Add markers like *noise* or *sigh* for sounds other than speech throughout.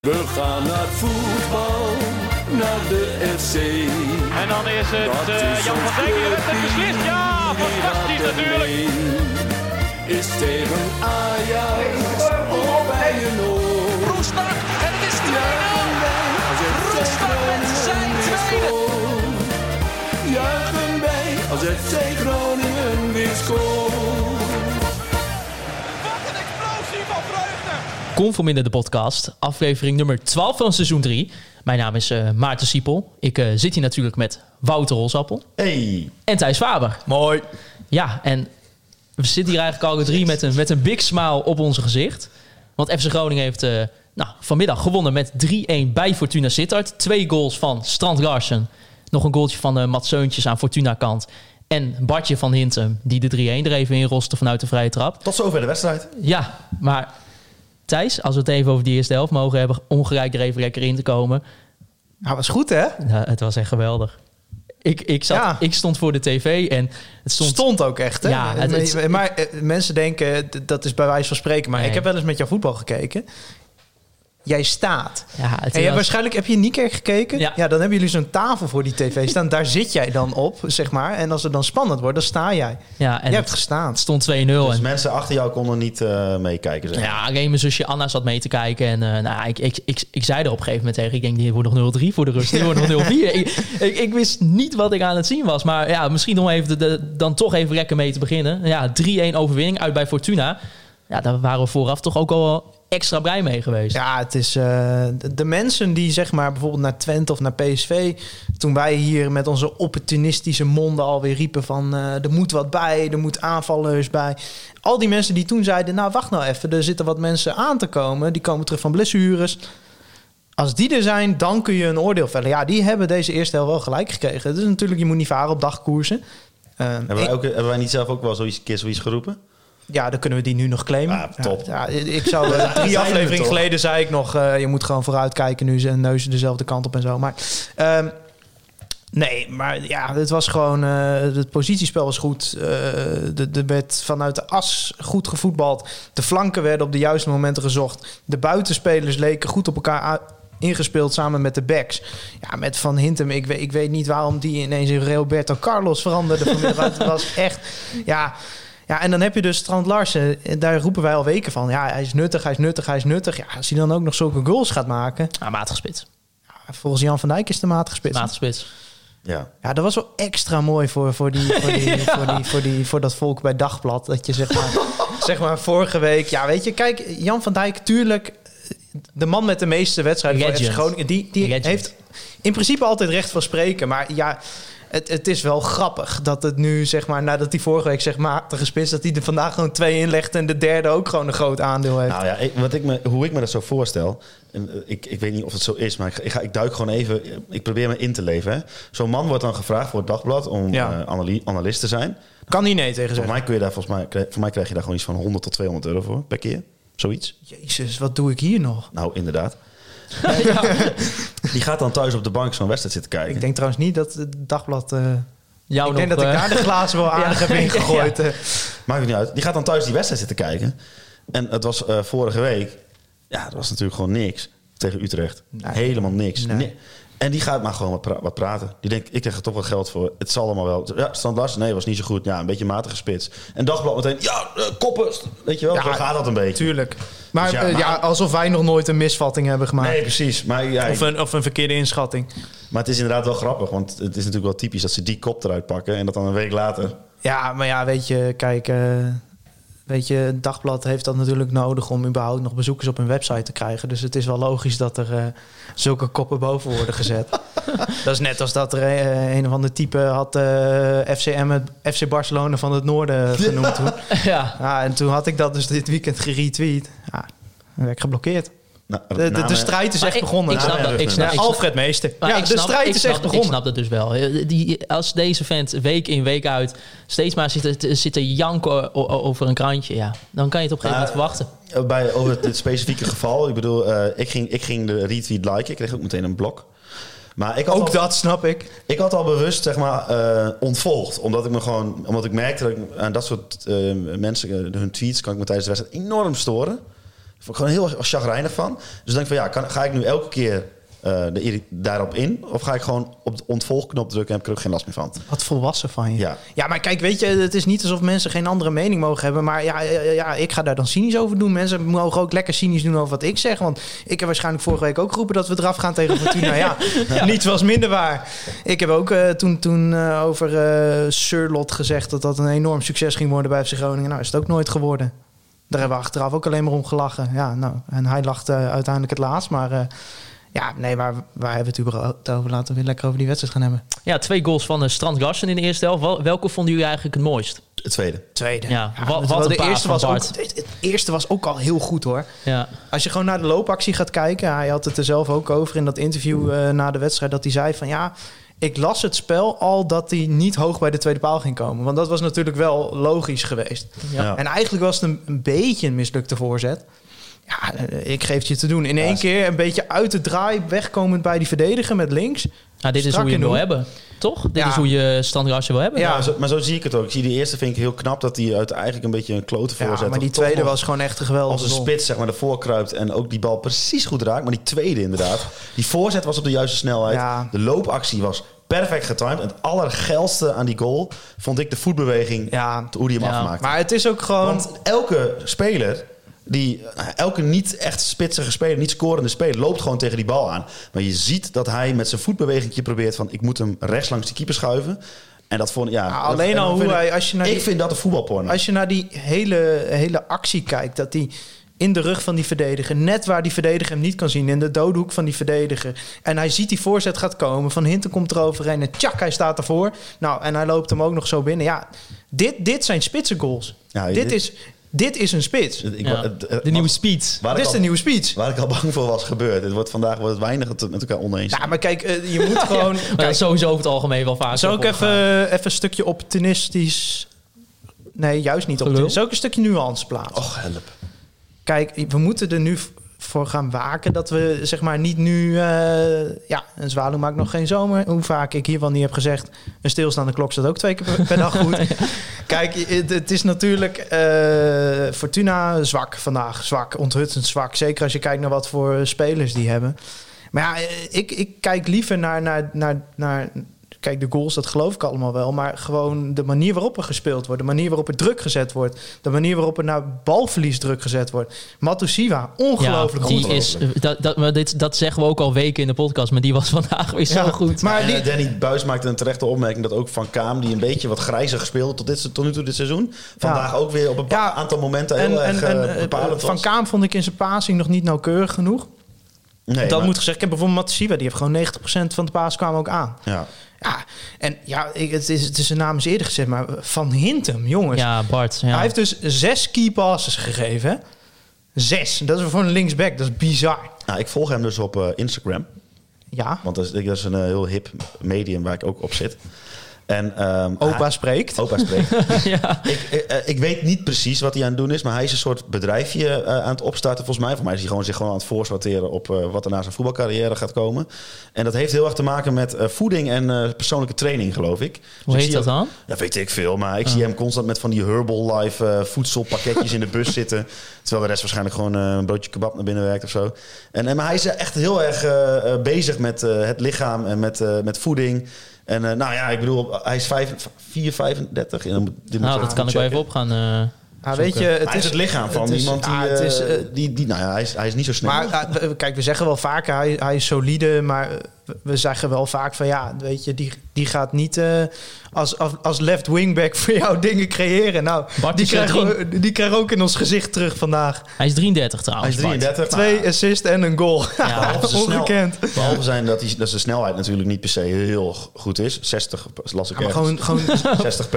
We gaan naar het voetbal, naar de FC. En dan is het Dat eh, is Jan ons van Dijk die de wedstrijd clubteam, beslist. Ja, die fantastisch gaat ermee. natuurlijk. Is tegen Ajax op bij een oor. Roestak en het is 2-0. Als het Roestak met zijn tweede. Juichen wij als FC Groningen weer scoort. Wat een explosie van vreugde. Conforminder de podcast, aflevering nummer 12 van seizoen 3. Mijn naam is eh, Maarten Siepel. Ik eh, zit hier natuurlijk met Wouter Holsappel Hey. en Thijs Faber. Mooi. Ja, en we zitten hier eigenlijk alle drie met een, met een big smile op ons gezicht. Want FC Groningen heeft eh, nou, vanmiddag gewonnen met 3-1 bij Fortuna Sittard. Twee goals van Strand Larsen. Nog een goaltje van eh Mats Zeuntjes aan Fortuna kant. En Bartje van Hintem, die de 3-1 er even in roste vanuit de vrije trap. Tot zover de wedstrijd. Ja, maar Thijs, als we het even over die eerste helft mogen hebben, ongelijk er even lekker in te komen. Nou, was goed hè? Nou, het was echt geweldig. Ik, ik, zat, Ja. ik stond voor de tv en het stond... Stond, ook echt hè? Ja, het- het- maar maar, eh, mensen denken, d- dat is bij wijze van spreken, maar Nee. ik heb wel eens met jou voetbal gekeken. Jij staat. Ja, het En jij, was- waarschijnlijk heb je niet keer gekeken. Ja. dan hebben jullie zo'n tafel voor die tv staan. Daar zit jij dan op, zeg maar. En als het dan spannend wordt, dan sta jij. ja, en jij het hebt gestaan. stond 2-0. Dus en- mensen achter jou konden niet eh, meekijken. Zeg. Nou ja, alleen mijn zusje Anna zat mee te kijken. En eh, nou, ik, ik, ik, ik zei er op een gegeven moment tegen... Ik denk, dit wordt nog 0-3 voor de rust. Dit wordt nog 0-4. ik, ik, ik wist niet wat ik aan het zien was. Maar ja, misschien om even de, de- dan toch even lekker mee te beginnen. Ja, 3-1 overwinning uit bij Fortuna. Ja, daar waren we vooraf toch ook al wel extra blij mee geweest. Ja, het is eh, de- de mensen die zeg maar bijvoorbeeld naar Twente of naar PSV. Toen wij hier met onze opportunistische monden alweer riepen van eh, er moet wat bij, er moet aanvallers bij. Al die mensen die toen zeiden, nou wacht nou even, er zitten wat mensen aan te komen. Die komen terug van blessures. Als die er zijn, dan kun je een oordeel vellen. Ja, die hebben deze eerste helft wel gelijk gekregen. Dus natuurlijk, je moet niet varen op dagkoersen. Eh, Hebben, wij ook, hebben wij niet zelf ook wel zoiets, een keer zoiets geroepen? ja, dan kunnen we die nu nog claimen. Ah, top. Ja, ja, ik zou *laughs* eh, drie zijn we afleveringen toch. geleden zei ik nog, eh, je moet gewoon vooruitkijken nu zijn neuzen dezelfde kant op en zo. Maar ehm, nee, maar ja, het was gewoon eh, het positiespel was goed. Eh, de er werd vanuit de as goed gevoetbald. De flanken werden op de juiste momenten gezocht. De buitenspelers leken goed op elkaar a- Ingespeeld samen met de backs. Ja, met Van Hintem. Ik weet, ik weet niet waarom die ineens in Roberto Carlos veranderde. Vanmiddag. het was echt. Ja, ja, en dan heb je dus Strand Larsen. En Daar roepen wij al weken van. Ja, hij is nuttig, hij is nuttig, hij is nuttig. Ja, als hij dan ook nog zulke goals gaat maken. Ja, Ah, matige spits. ja, Volgens Jan van Dijk is de matige spits. Matige spits. Ja. Ja, dat was wel extra mooi voor, voor, die, voor, die, voor, die, voor, die, voor dat volk bij Dagblad. Dat je zeg maar, zeg maar vorige week... Ja, weet je, kijk, Jan van Dijk, tuurlijk... De man met de meeste wedstrijden voor Legend. FC Groningen... die, die Legend. heeft in principe altijd recht van spreken. Maar ja, het, het is wel grappig dat het nu, zeg maar... nadat hij vorige week zeg matige spits... dat hij er vandaag gewoon twee in legt... en de derde ook gewoon een groot aandeel heeft. Nou ja, ik, wat ik me, hoe ik me dat zo voorstel. En, eh, ik, ik weet niet of het zo is, maar ik, ga- ik, ga, ik duik gewoon even. Ik probeer me in te leven. hè. Zo'n man wordt dan gevraagd voor het dagblad om Ja. eh, anali- analist te zijn. kan hij nee tegen Volgens zeggen. mij, kun je daar, volgens mij, krijg- voor mij krijg je daar gewoon iets van 100 tot 200 euro voor per keer. Zoiets. Jezus, wat doe ik hier nog? Nou, inderdaad. *laughs* Die gaat dan thuis op de bank zo'n wedstrijd zitten kijken. Ik denk trouwens niet dat het Dagblad... eh, Jou ik denk nog, dat ik eh, daar de glazen wel aardig heb ingegooid. eh. Maakt het niet uit. Die gaat dan thuis die wedstrijd zitten kijken. En het was eh, vorige week. Ja, dat was natuurlijk gewoon niks tegen Utrecht. Nee. Helemaal niks. Nee. Ni- En die gaat maar gewoon wat, pra- wat praten. Die denkt, ik krijg er toch wat geld voor. Het zal allemaal wel. Ja, Stand Larsen, nee, was niet zo goed. Ja, een beetje matige spits. En Dagblad meteen, ja, eh, koppen. Weet je wel, Ja, zo gaat dat een beetje. Tuurlijk. Maar, Dus ja, eh, maar- ja, alsof wij nog nooit een misvatting hebben gemaakt. Nee, precies. Maar, ja, Of, eh, een, of een verkeerde inschatting. maar het is inderdaad wel grappig. Want het is natuurlijk wel typisch dat ze die kop eruit pakken. En dat dan een week later. Ja, maar ja, weet je, kijk. eh, weet je, het dagblad heeft dat natuurlijk nodig om überhaupt nog bezoekers op hun website te krijgen. Dus het is wel logisch dat er eh, zulke koppen boven worden gezet. *laughs* dat is net als dat er eh, een of ander type had eh, FCM het FC Barcelona van het *laughs* Noorden eh, genoemd toen. *laughs* ja. Ja, en toen had ik dat dus dit weekend geretweet. Ja, dan werd ik geblokkeerd. Nou, De, de, de namen- strijd is Maar echt ik- begonnen. Ik snap Ja, dat. Ik snap, Ja, ik snap- Alfred Meester. maar ja, ik de snap- strijd ik is snap- echt begonnen. Ik snap dat dus wel. Eh, Die, als deze vent week in, week uit steeds maar zit, te- zit te janken o- o- over een krantje, ja, dan kan je het op een gegeven moment verwachten. Bij, over dit specifieke geval. Ik bedoel, eh, ik, ging, ik ging de retweet liken. Ik kreeg ook meteen een blok. Maar ik had, Ook al, dat snap ik. ik had al bewust zeg maar, eh, ontvolgd. Omdat ik me gewoon, omdat ik merkte dat ik aan dat soort eh, mensen, eh, hun tweets, kan ik me tijdens de wedstrijd enorm storen. Vond ik gewoon heel erg chagrijnig van. Dus denk ik van ja, kan, ga ik nu elke keer eh, de, irri- daarop in? Of ga ik gewoon op de ontvolgknop drukken en heb ik er ook geen last meer van? Wat volwassen van je. Ja. maar kijk, weet je, het is niet alsof mensen geen andere mening mogen hebben. Maar ja, ja, ja, ik ga daar dan cynisch over doen. Mensen mogen ook lekker cynisch doen over wat ik zeg. Want ik heb waarschijnlijk vorige week ook geroepen dat we eraf gaan tegen Fortuna. ja, niets was minder waar. Ik heb ook eh, toen, toen eh, over eh Surlot gezegd dat dat een enorm succes ging worden bij FC Groningen. Nou, is het ook nooit geworden. Daar hebben we achteraf ook alleen maar om gelachen. Ja, nou, en hij lacht eh, uiteindelijk het laatst. Maar eh, ja, nee, waar, waar hebben we het überhaupt over? Laten we weer lekker over die wedstrijd gaan hebben. Ja, twee goals van eh, Strand Larsen in de eerste helft. Wel- Welke vonden jullie eigenlijk het mooist? Het tweede. Tweede. Ja, wa- terwijl wat een de paas eerste van was ook, Bart. het, het eerste was ook al heel goed hoor. Ja, Als je gewoon naar de loopactie gaat kijken, hij had het er zelf ook over in dat interview eh, na de wedstrijd, dat hij zei van ja, ik las het spel al dat hij niet hoog bij de tweede paal ging komen. Want dat was natuurlijk wel logisch geweest. Ja. Ja. En eigenlijk was het een, een beetje een mislukte voorzet. Ja, eh, ik geef het je te doen. In één keer een beetje uit de draai wegkomend bij die verdediger met links. nou, dit is Strak hoe je hem wil in de hebben, toch? Dit Ja. is hoe je Strand Larsen wil hebben. Ja. Ja, zo- maar zo zie ik het ook. Ik zie die eerste vind ik heel knap dat hij uit eigenlijk een beetje een klote voorzet. Ja, maar die dat toch tweede nog was gewoon echt een geweldige Als een goal. spits zeg maar ervoor kruipt en ook die bal precies goed raakt. Maar die tweede inderdaad. Die voorzet was op de juiste snelheid. Ja. De loopactie was perfect getimed. En het allergeilste aan die goal vond ik de voetbeweging. Ja. Hoe die hem Ja. afmaakte. Maar het is ook gewoon... Want elke speler, die, nou, elke niet echt spitsige speler, niet scorende speler, loopt gewoon tegen die bal aan. Maar je ziet dat hij met zijn voetbeweging probeert van ik moet hem rechts langs die keeper schuiven. En dat vond ja, Ja, dat- alleen en al dan hoe vind hij- ik, als je naar ik die- vind dat een voetbalporno. Als je naar die hele, hele actie kijkt, dat die in de rug van die verdediger, net waar die verdediger hem niet kan zien, in de dode hoek van die verdediger. En hij ziet die voorzet gaat komen, Van Hinten komt eroverheen en tjak, hij staat ervoor. Nou, en hij loopt hem ook nog zo binnen. Ja, dit, dit zijn spitsen goals. Ja, dit, dit- is, dit is een spits. Dit Ik- Ja. het- het- De nieuwe speed. waar ik is al- de nieuwe speech. Waar ik al bang voor was gebeurd. Het wordt vandaag wordt het weinig het met elkaar oneens. Ja, maar kijk, eh, *laughs* je moet gewoon... Maar dat kijk, is sowieso over het algemeen wel vaak. zal ik even, eh, even een stukje optimistisch... Nee, juist niet optimistisch. Zal ik een stukje nuance plaatsen? Och, help. Kijk, we moeten er nu v- voor gaan waken dat we zeg maar niet nu... eh, ja, een zwaluw maakt nog geen zomer. Hoe vaak ik hiervan niet heb gezegd... een stilstaande klok staat ook twee keer per, per dag goed. Kijk, het, het is natuurlijk eh, Fortuna zwak vandaag. Zwak, onthutsend zwak. Zeker als je kijkt naar wat voor spelers die hebben. Maar ja, eh, ik, ik kijk liever naar, naar, naar, naar... Kijk, de goals, dat geloof ik allemaal wel. Maar gewoon de manier waarop er gespeeld wordt. De manier waarop er druk gezet wordt. De manier waarop er naar balverlies druk gezet wordt. Matusiwa, ongelooflijk die goed. is, eh, dat, dat, maar dit, dat zeggen we ook al weken in de podcast, maar die was *laughs* vandaag weer Ja, zo goed. Maar En, die, eh, Danny Buis maakte een terechte opmerking dat ook Van Kaam, die een beetje wat grijzig speelde tot, dit, se- tot nu toe dit seizoen, vandaag ook weer op een Ja. paar aantal momenten heel erg eh, eh, bepalend Van was. Kaam vond ik in zijn passing nog niet nauwkeurig genoeg. Nee, dat maar- moet gezegd. Ik heb bijvoorbeeld Matsiwa, die heeft gewoon 90% van de paas kwamen ook aan. Ja. Ja, en ja, ik, het, is, het is een naam is eerder gezegd, maar Van Hintem, jongens. ja, Bart. Ja. Hij heeft dus zes key passes gegeven. hè? Zes. Dat is voor een linksback. Dat is bizar. Nou, ik volg hem dus op eh, Instagram. Ja. Want dat is, dat is een eh, heel hip medium waar ik ook op zit. En, ehm, Opa hij- spreekt. Opa spreekt. *laughs* ja. ik, eh, eh, ik weet niet precies wat hij aan het doen is, maar hij is een soort bedrijfje eh, aan het opstarten. Volgens mij, voor mij is hij gewoon zich gewoon aan het voorsorteren op eh, wat er na zijn voetbalcarrière gaat komen. En dat heeft heel erg te maken met eh, voeding en eh, persoonlijke training, geloof ik. Dus Hoe ik heet zie dat hem- dan? Ah. Dat weet ik veel, maar ik zie hem constant met van die Herbalife eh voedselpakketjes in de bus *laughs* zitten. Terwijl de rest waarschijnlijk gewoon eh, een broodje kebab naar binnen werkt of zo. En, en, maar hij is eh, echt heel erg eh, eh, bezig met eh, het lichaam en met, eh, met voeding. En eh, nou ja, ik bedoel, hij is 5, 4, 35. En dan moet- dit moet Nou, ik dat kan ik wel even opgaan. eh. Ah, weet je, Het het hij is is het lichaam van het is- iemand die, ah, het eh, is, eh, die, die... Nou ja, hij is, hij is niet zo snel. Maar eh, we- kijk, we zeggen wel vaak, hij, hij is solide, maar eh, we zeggen wel vaak van ja, weet je, die, die gaat niet eh, als, als- als left wingback voor jou *laughs* dingen creëren. Nou, Bart die is er krijgen, we- die krijgen we ook in ons gezicht terug vandaag. Hij is 33 hij trouwens. is 33. nou, Twee assists en een goal. Ja, *laughs* behalve zijn snel- Ongekend. Behalve zijn dat, hij, dat zijn snelheid natuurlijk niet per se heel goed is. 60 las ik Ja, maar ergens. gewoon, gewoon, *laughs* 60 p.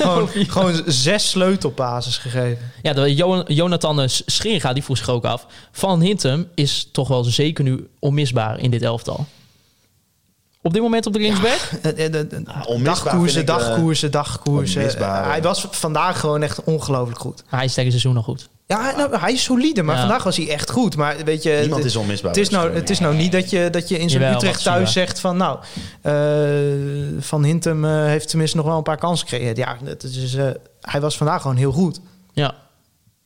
gewoon, gewoon zes sleutelpases gegeven. Ja, de Jo- Jonathan eh, Scheringa, die vroeg zich ook af. Van Hintem is toch wel zeker nu onmisbaar in dit elftal. Op dit moment op de linksback? Eh, eh, eh, onmisbaar vind Dagkoersen, ik, eh, dagkoersen, dagkoersen. Eh, onmisbaar. Hij was vandaag gewoon echt ongelooflijk goed. Hij is tegen het seizoen nog goed. Ja, nou, hij is solide, maar Ja. vandaag was hij echt goed. Maar weet je, Niemand het- is onmisbaar Het is bij nou, Groningen. het is nou niet dat je, dat je in zo'n Jawel, Utrecht Matsuda. thuis zegt van... nou, eh, Van Hintem eh, heeft tenminste nog wel een paar kansen gecreëerd. Ja, het is, eh, hij was vandaag gewoon heel goed. Ja.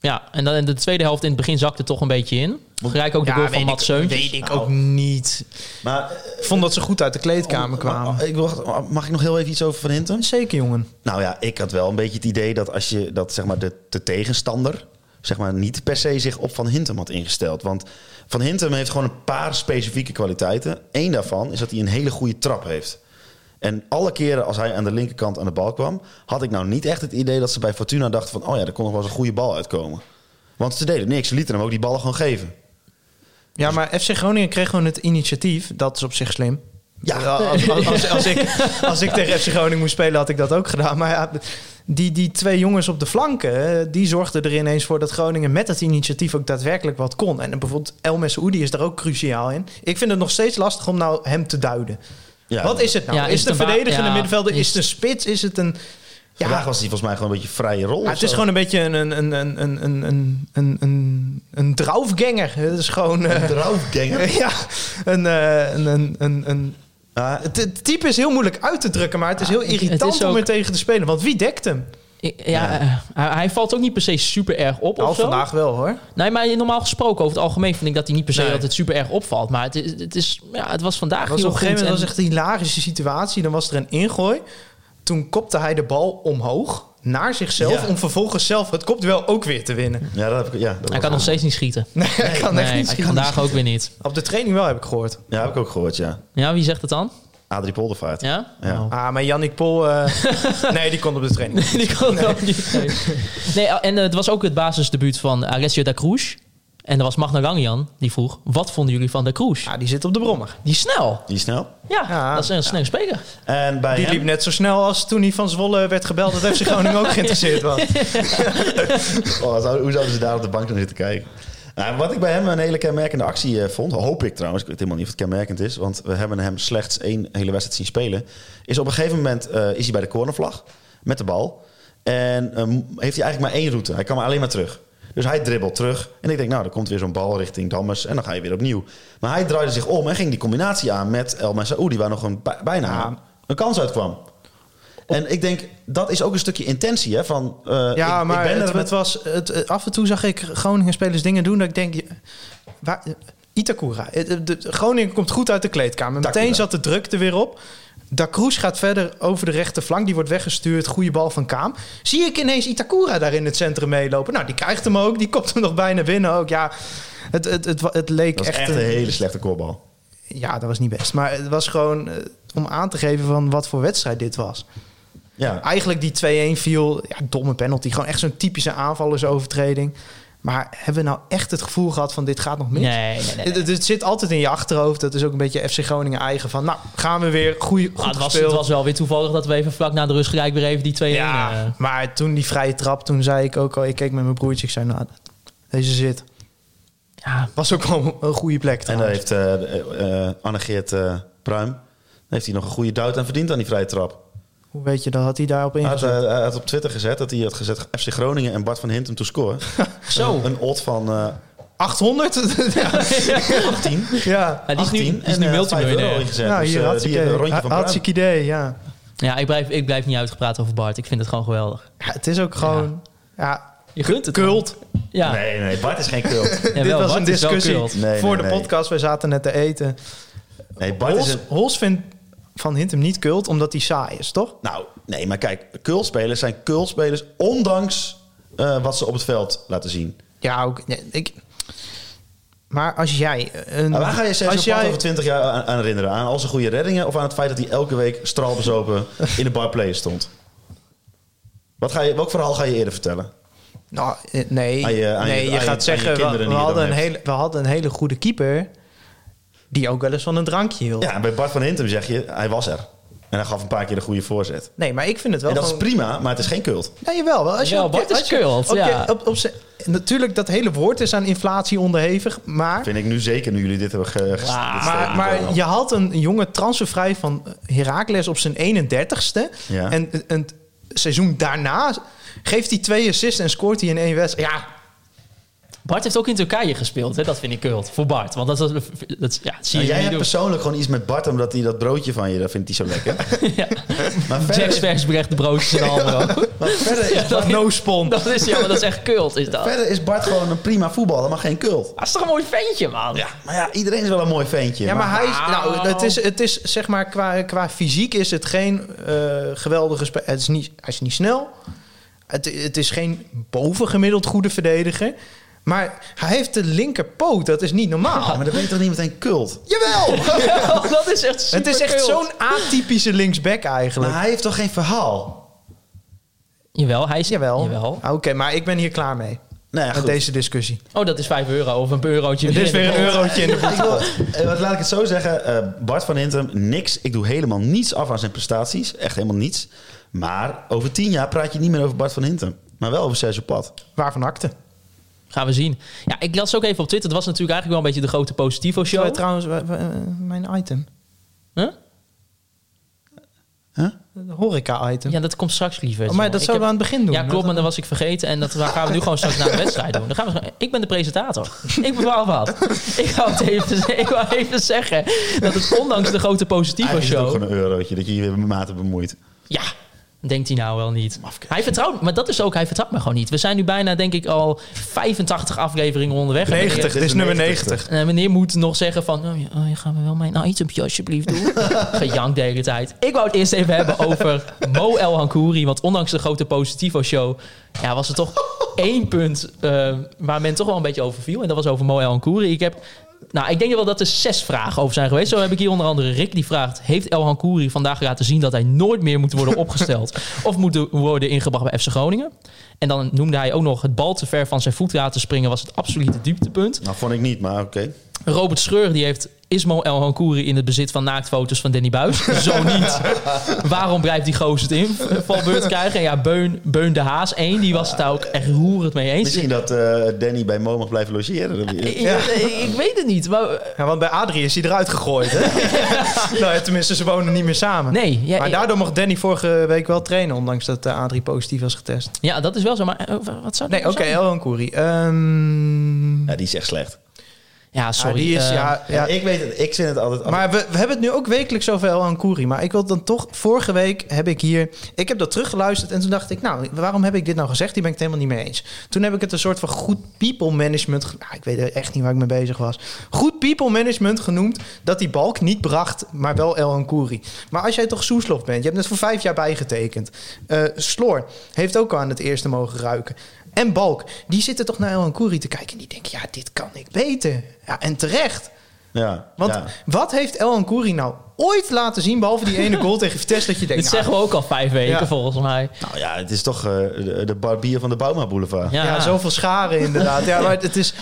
Ja, en dan in de tweede helft in het begin zakte het toch een beetje in. Gelijk ook de goal van Mats Seuntjes. Weet ik ook niet. Maar eh, Ik vond dat ze goed uit de kleedkamer kwamen. ma- ik wil- mag ik nog heel even iets over Van Hintem? Zeker, jongen. Nou ja, ik had wel een beetje het idee dat als je dat zeg maar de, de tegenstander zeg maar niet per se zich op Van Hintem had ingesteld, want Van Hintem heeft gewoon een paar specifieke kwaliteiten. Eén daarvan is dat hij een hele goede trap heeft. En alle keren als hij aan de linkerkant aan de bal kwam, had ik nou niet echt het idee dat ze bij Fortuna dachten van, oh ja, er kon nog wel eens een goede bal uitkomen. Want ze deden niks, ze lieten hem ook die ballen gewoon geven. Ja, maar FC Groningen kreeg gewoon het initiatief. Dat is op zich slim. Ja. als, als, als, als ik, als ik tegen FC Groningen moest spelen, had ik dat ook gedaan. Maar ja, die, die twee jongens op de flanken, eh, die zorgden er ineens voor dat Groningen met dat initiatief ook daadwerkelijk wat kon. En bijvoorbeeld El Oedi is daar ook cruciaal in. Ik vind het nog steeds lastig om nou hem te duiden. Ja, wat is het nou? Ja, is het een wa- verdedigende ja, middenvelder? Is is- het een spits? Is het een... Vandaag was hij volgens mij gewoon een beetje vrije rol. Ja, of het is zo. gewoon een beetje een, een, een, een, een, een, een, een, een, een draufganger. Het is gewoon... eh, Draufganger. *laughs* ja, een, eh, een, een, een, een- het, het type is heel moeilijk uit te drukken, maar het is heel het is irritant om ook- er tegen te spelen. Want wie dekt hem? Ik- Ja, eh, hij, hij valt ook niet per se super erg op Al of zo. Nou, vandaag wel hoor. Nee, maar normaal gesproken over het algemeen vind ik dat hij niet per se Nee. altijd super erg opvalt. Maar het, is, het, is, ja, het was vandaag Was op heel een gegeven goed moment was en- echt een hilarische situatie. Dan was er een ingooi. Toen kopte hij de bal omhoog naar zichzelf Ja. om vervolgens zelf het kopduel ook weer te winnen. *laughs* Ja, dat heb ik, ja, dat Hij was- kan nog steeds niet schieten. Oh, Nee, hij kan Nee, echt niet hij kan schieten. vandaag ook weer niet. Op de training wel heb ik gehoord. ja, heb ik ook gehoord, ja. Ja, wie zegt het dan? Adrie Poldervaart. Ja? Ja. Ah, maar Yannick Pol, eh, *laughs* nee, die kon op de training. *laughs* Die kan ook niet. Nee, Nee, en eh, het was ook het basisdebuut van Alessio da Cruz. En er was Magnarangian die vroeg, wat vonden jullie van da Cruz? Ja, die zit op de brommer. Die is snel. Die is snel. Ja, Ah. Ja. dat is een snelle speler. En bij Die hem- liep net zo snel als toen hij van Zwolle werd gebeld dat FC Groningen *laughs* ook geïnteresseerd was. Oh, wat zou- hoe zouden ze daar op de bank naar zitten kijken? Nou, wat ik bij hem een hele kenmerkende actie eh, vond, hoop ik trouwens, ik weet helemaal niet of het kenmerkend is, want we hebben hem slechts één hele wedstrijd zien spelen, is op een gegeven moment eh, is hij bij de cornervlag met de bal en eh, m- heeft hij eigenlijk maar één route. Hij kan maar alleen maar terug. Dus hij dribbelt terug en ik denk, nou, er komt weer zo'n bal richting Dammers en dan ga je weer opnieuw. Maar hij draaide zich om en ging die combinatie aan met El Messaoudi, waar nog een, bij- bijna een kans uit kwam. En ik denk, dat is ook een stukje intentie, hè? Van, eh, Ja, ik- maar ik ben er het, met- het was, het, eh, af en toe zag ik Groningen spelers dingen doen dat ik denk... je- Waar, eh, Itakura. Eh, eh, de- Groningen komt goed uit de kleedkamer. Takura. Meteen zat de druk er weer op. Da Cruz gaat verder over de rechterflank. Die wordt weggestuurd. Goede bal van Kaam. Zie ik ineens Itakura daar in het centrum meelopen. Nou, die krijgt hem ook. Die kopt hem nog bijna binnen ook. Ja, het, het, het, wa- het leek Dat is echt... echt een, een- hele slechte kopbal. Ja, dat was niet best. Maar het was gewoon eh, om aan te geven van wat voor wedstrijd dit was. Ja. Eigenlijk die 2-1 viel, ja, domme penalty. Gewoon echt zo'n typische aanvallersovertreding. Maar hebben we nou echt het gevoel gehad van dit gaat nog mis? Nee, nee, nee. nee. Het, het- het zit altijd in je achterhoofd. Dat is ook een beetje FC Groningen eigen. Van nou, gaan we weer. Goeie, goed Maar Ah, het, was, gespeeld. het was wel weer toevallig dat we even vlak na de rust gelijk weer even die 2-1... ja, eh, maar toen die vrije trap, toen zei ik ook al... Ik keek met mijn broertje, ik zei nou, deze zit. ja, Was ook wel een goede plek En daar trouwens. heeft eh eh, eh, Annegeert eh, Pruim daar heeft hij nog een goede duit aan verdiend aan die vrije trap. Hoe weet je, dat had hij daarop Hij had, ingezet. eh, hij had op Twitter gezet dat hij had gezet FC Groningen en Bart van Hintem to score. zo. Een odd van eh 800? *laughs* ja. 18. ja. Ja, die is nu, 18 die is nu en, eh, multimiljonair. 5 euro ingezet. Nou, Dus, hier eh, had die hebben een rondje van had Pruim. idee, *laughs* ja. Ja, ik blijf, ik blijf niet uitgepraat over Bart. Ik vind het gewoon geweldig. Ja, Het is ook gewoon... Ja, Je gunt het. Kult. hem. Ja, Nee, nee, Bart is geen kult. Jawel, dit was Bart een is wel discussie kult. Nee, voor nee, de nee. podcast. Wij zaten net te eten. Nee, Bart is Hols, een... Hols vindt Van Hintem niet kult, omdat hij saai is, toch? Nou, nee, maar kijk, kultspelers zijn kultspelers ondanks eh, wat ze op het veld laten zien. Ja, ook... nee, ik, maar als jij... Een, Maar waar ga Nou, je Sergio als Pat jij, over 20 jaar aan, aan herinneren? Aan al zijn goede reddingen of aan het feit dat hij elke week straalbezopen in de barplayer stond? Wat ga je, welk verhaal ga je eerder vertellen? Nou, eh, nee, Aan je- aan je- nee, je, aan je- aan je gaat zeggen... we- kinderen we, die je hadden dan een hebt. hele, we hadden een hele goede keeper... die ook wel eens van een drankje hield. Ja, en bij Bart van Hintem zeg je, hij was er. En hij gaf een paar keer de goede voorzet. Nee, maar ik vind het wel En dat is gewoon- prima, maar het is geen cult. Ja, jawel. wel. Als je Ja, op- Bart is als je- kult, op- ja. op- op z'n- natuurlijk, dat hele woord is aan inflatie onderhevig, maar... Vind ik nu zeker, nu jullie dit hebben ge- ges- dit Maar, statement maar hebben. je had een jonge transfervrij van eh, Herakles op zijn 31ste. Ja. En het seizoen daarna geeft hij twee assists en scoort hij in één wedstrijd. Ja, Bart heeft ook in Turkije gespeeld. Hè? Dat vind ik kult. Voor Bart. Want dat, dat, dat- ja, dat zie Nou, je jij niet hebt doen. persoonlijk gewoon iets met Bart, omdat hij dat broodje van je, dat vindt hij zo *laughs* lekker. *laughs* Ja. Maar verder, Jack's is, versbrecht, de broodjes en *laughs* allemaal. maar verder, *laughs* dat- is Bart, No spawn. Dat is ja, maar dat is echt kult. Is dat. verder is Bart gewoon een prima voetballer, maar geen kult. Dat is toch een mooi ventje, man. Maar ja, iedereen is wel een mooi ventje. Ah. Ja, maar hij is, nou, Nou. het is, het is zeg maar qua, qua fysiek is het geen eh, geweldige spe- Het is niet, hij is niet snel. Het, het is geen bovengemiddeld goede verdediger. Maar hij heeft de linkerpoot, dat is niet normaal. Ja, maar dat ben je toch niet meteen kult? Jawel! *laughs* dat is echt super het is echt kult. zo'n atypische linksback eigenlijk. Maar hij heeft toch geen verhaal? Jawel, hij is... Jawel. Ah, Jawel. Oké, maar ik ben hier klaar mee. Nou ja, met goed. deze discussie. Oh, dat is 5 euro of een eurotje. Dit is binnen. weer een eurotje in de *laughs* Ik wil- eh, wat laat ik het zo zeggen. eh, Bart van Hintem, niks. Ik doe helemaal niets af aan zijn prestaties. Echt helemaal niets. Maar over tien jaar praat je niet meer over Bart van Hintem. Maar wel over Sergio Pad. Waarvan akte? Gaan we zien. Ja, ik las ook even op Twitter. Het was natuurlijk eigenlijk wel een beetje de grote Zo, Positivo-show. trouwens, wa- wa- eh, mijn item. Huh? Huh? Een horeca-item. Ja, dat komt straks liever. Oh, maar dat Ik zouden we aan het begin doen. Ja, klopt, maar dat was ik vergeten. En dat gaan we nu gewoon straks naar de wedstrijd doen. Dan gaan we, gewoon- ik ben de presentator. Ik bepaal wat. Ik wou, het even, ik wou even zeggen dat het ondanks de grote positieve Eigenlijk is het ook show... gewoon een eurotje dat je je weer met maten bemoeit. Ja, denkt hij nou wel niet. Hij vertrouwt, maar dat is ook, hij vertrouwt me gewoon niet. We zijn nu bijna, denk ik, al 85 afleveringen onderweg. Dus- En 90, dit is nummer 90. meneer- En meneer moet nog zeggen van, oh, ja, oh, je gaat me wel mijn itempje alsjeblieft doen. Gejankt de hele tijd. Ik wou het eerst even hebben over Mo El Hankouri. Want ondanks de grote Positivo-show ja, was er toch één punt eh, waar men toch wel een beetje over viel. En dat was over Mo El Hankouri. Ik heb... Nou, ik denk wel dat er zes vragen over zijn geweest. Zo heb ik hier onder andere Rick die vraagt... heeft El Hankouri vandaag laten zien dat hij nooit meer moet worden opgesteld... of moet worden ingebracht bij FC Groningen? En dan noemde hij ook nog het bal te ver van zijn voet laten springen... was het absolute dieptepunt. Nou, vond ik niet, maar oké. Robert Schreur die heeft Ismo El Hankouri in het bezit van naaktfoto's van Danny Buis. Zo niet. Waarom blijft die gozer het in? Valbeurt krijgen. En ja, Beun, Beun de Haas 1, die was het daar ook echt roerend mee eens. Misschien dat eh, Danny bij Mo mag blijven logeren. Dat- Ik, ik- ik weet het niet. Maar, eh, Ja, want bij Adrie is hij eruit gegooid, *laughs* hè? nou, ja, tenminste, ze wonen niet meer samen. nee, ja, maar ja, daardoor mocht Danny vorige week wel trainen, ondanks dat eh, Adrie positief was getest. ja, dat is wel zo. Maar eh, wat zou dat Nee, oké, zijn? Elhan Koeri. Ehm, Ja, die is echt slecht. Ja, ja, Eh, sorry. die is, eh, ja, ja, Ja, ik weet het. Ik vind het altijd... maar we, we hebben het nu ook wekelijks over Elhan Koeri. Maar ik wil dan toch... Vorige week heb ik hier... Ik heb dat teruggeluisterd en toen dacht ik... Nou, waarom heb ik dit nou gezegd? Hier ben ik het helemaal niet mee eens. Toen heb ik het een soort van goed people management... ge- Nou, ik weet echt niet waar ik mee bezig was. Goed people management genoemd... dat die balk niet bracht, maar wel Elhan Koeri. Maar als jij toch Soeslof bent... Je hebt net voor vijf jaar bijgetekend. Eh Sloor heeft ook al aan het eerste mogen ruiken. En Balk, die zitten toch naar Elhan Koeri te kijken... en die denken, ja, dit kan ik beter. Ja, en terecht... ja, Want ja. wat heeft El Kouri nou ooit laten zien, behalve die ene *laughs* goal tegen Vitesse, dat je denkt... dit nou, zeggen we ook al vijf weken Ja. volgens mij. Nou ja, het is toch eh, de, de barbier van de Bouma Boulevard. Ja, nou, ja. zoveel scharen inderdaad. Ja, maar het is...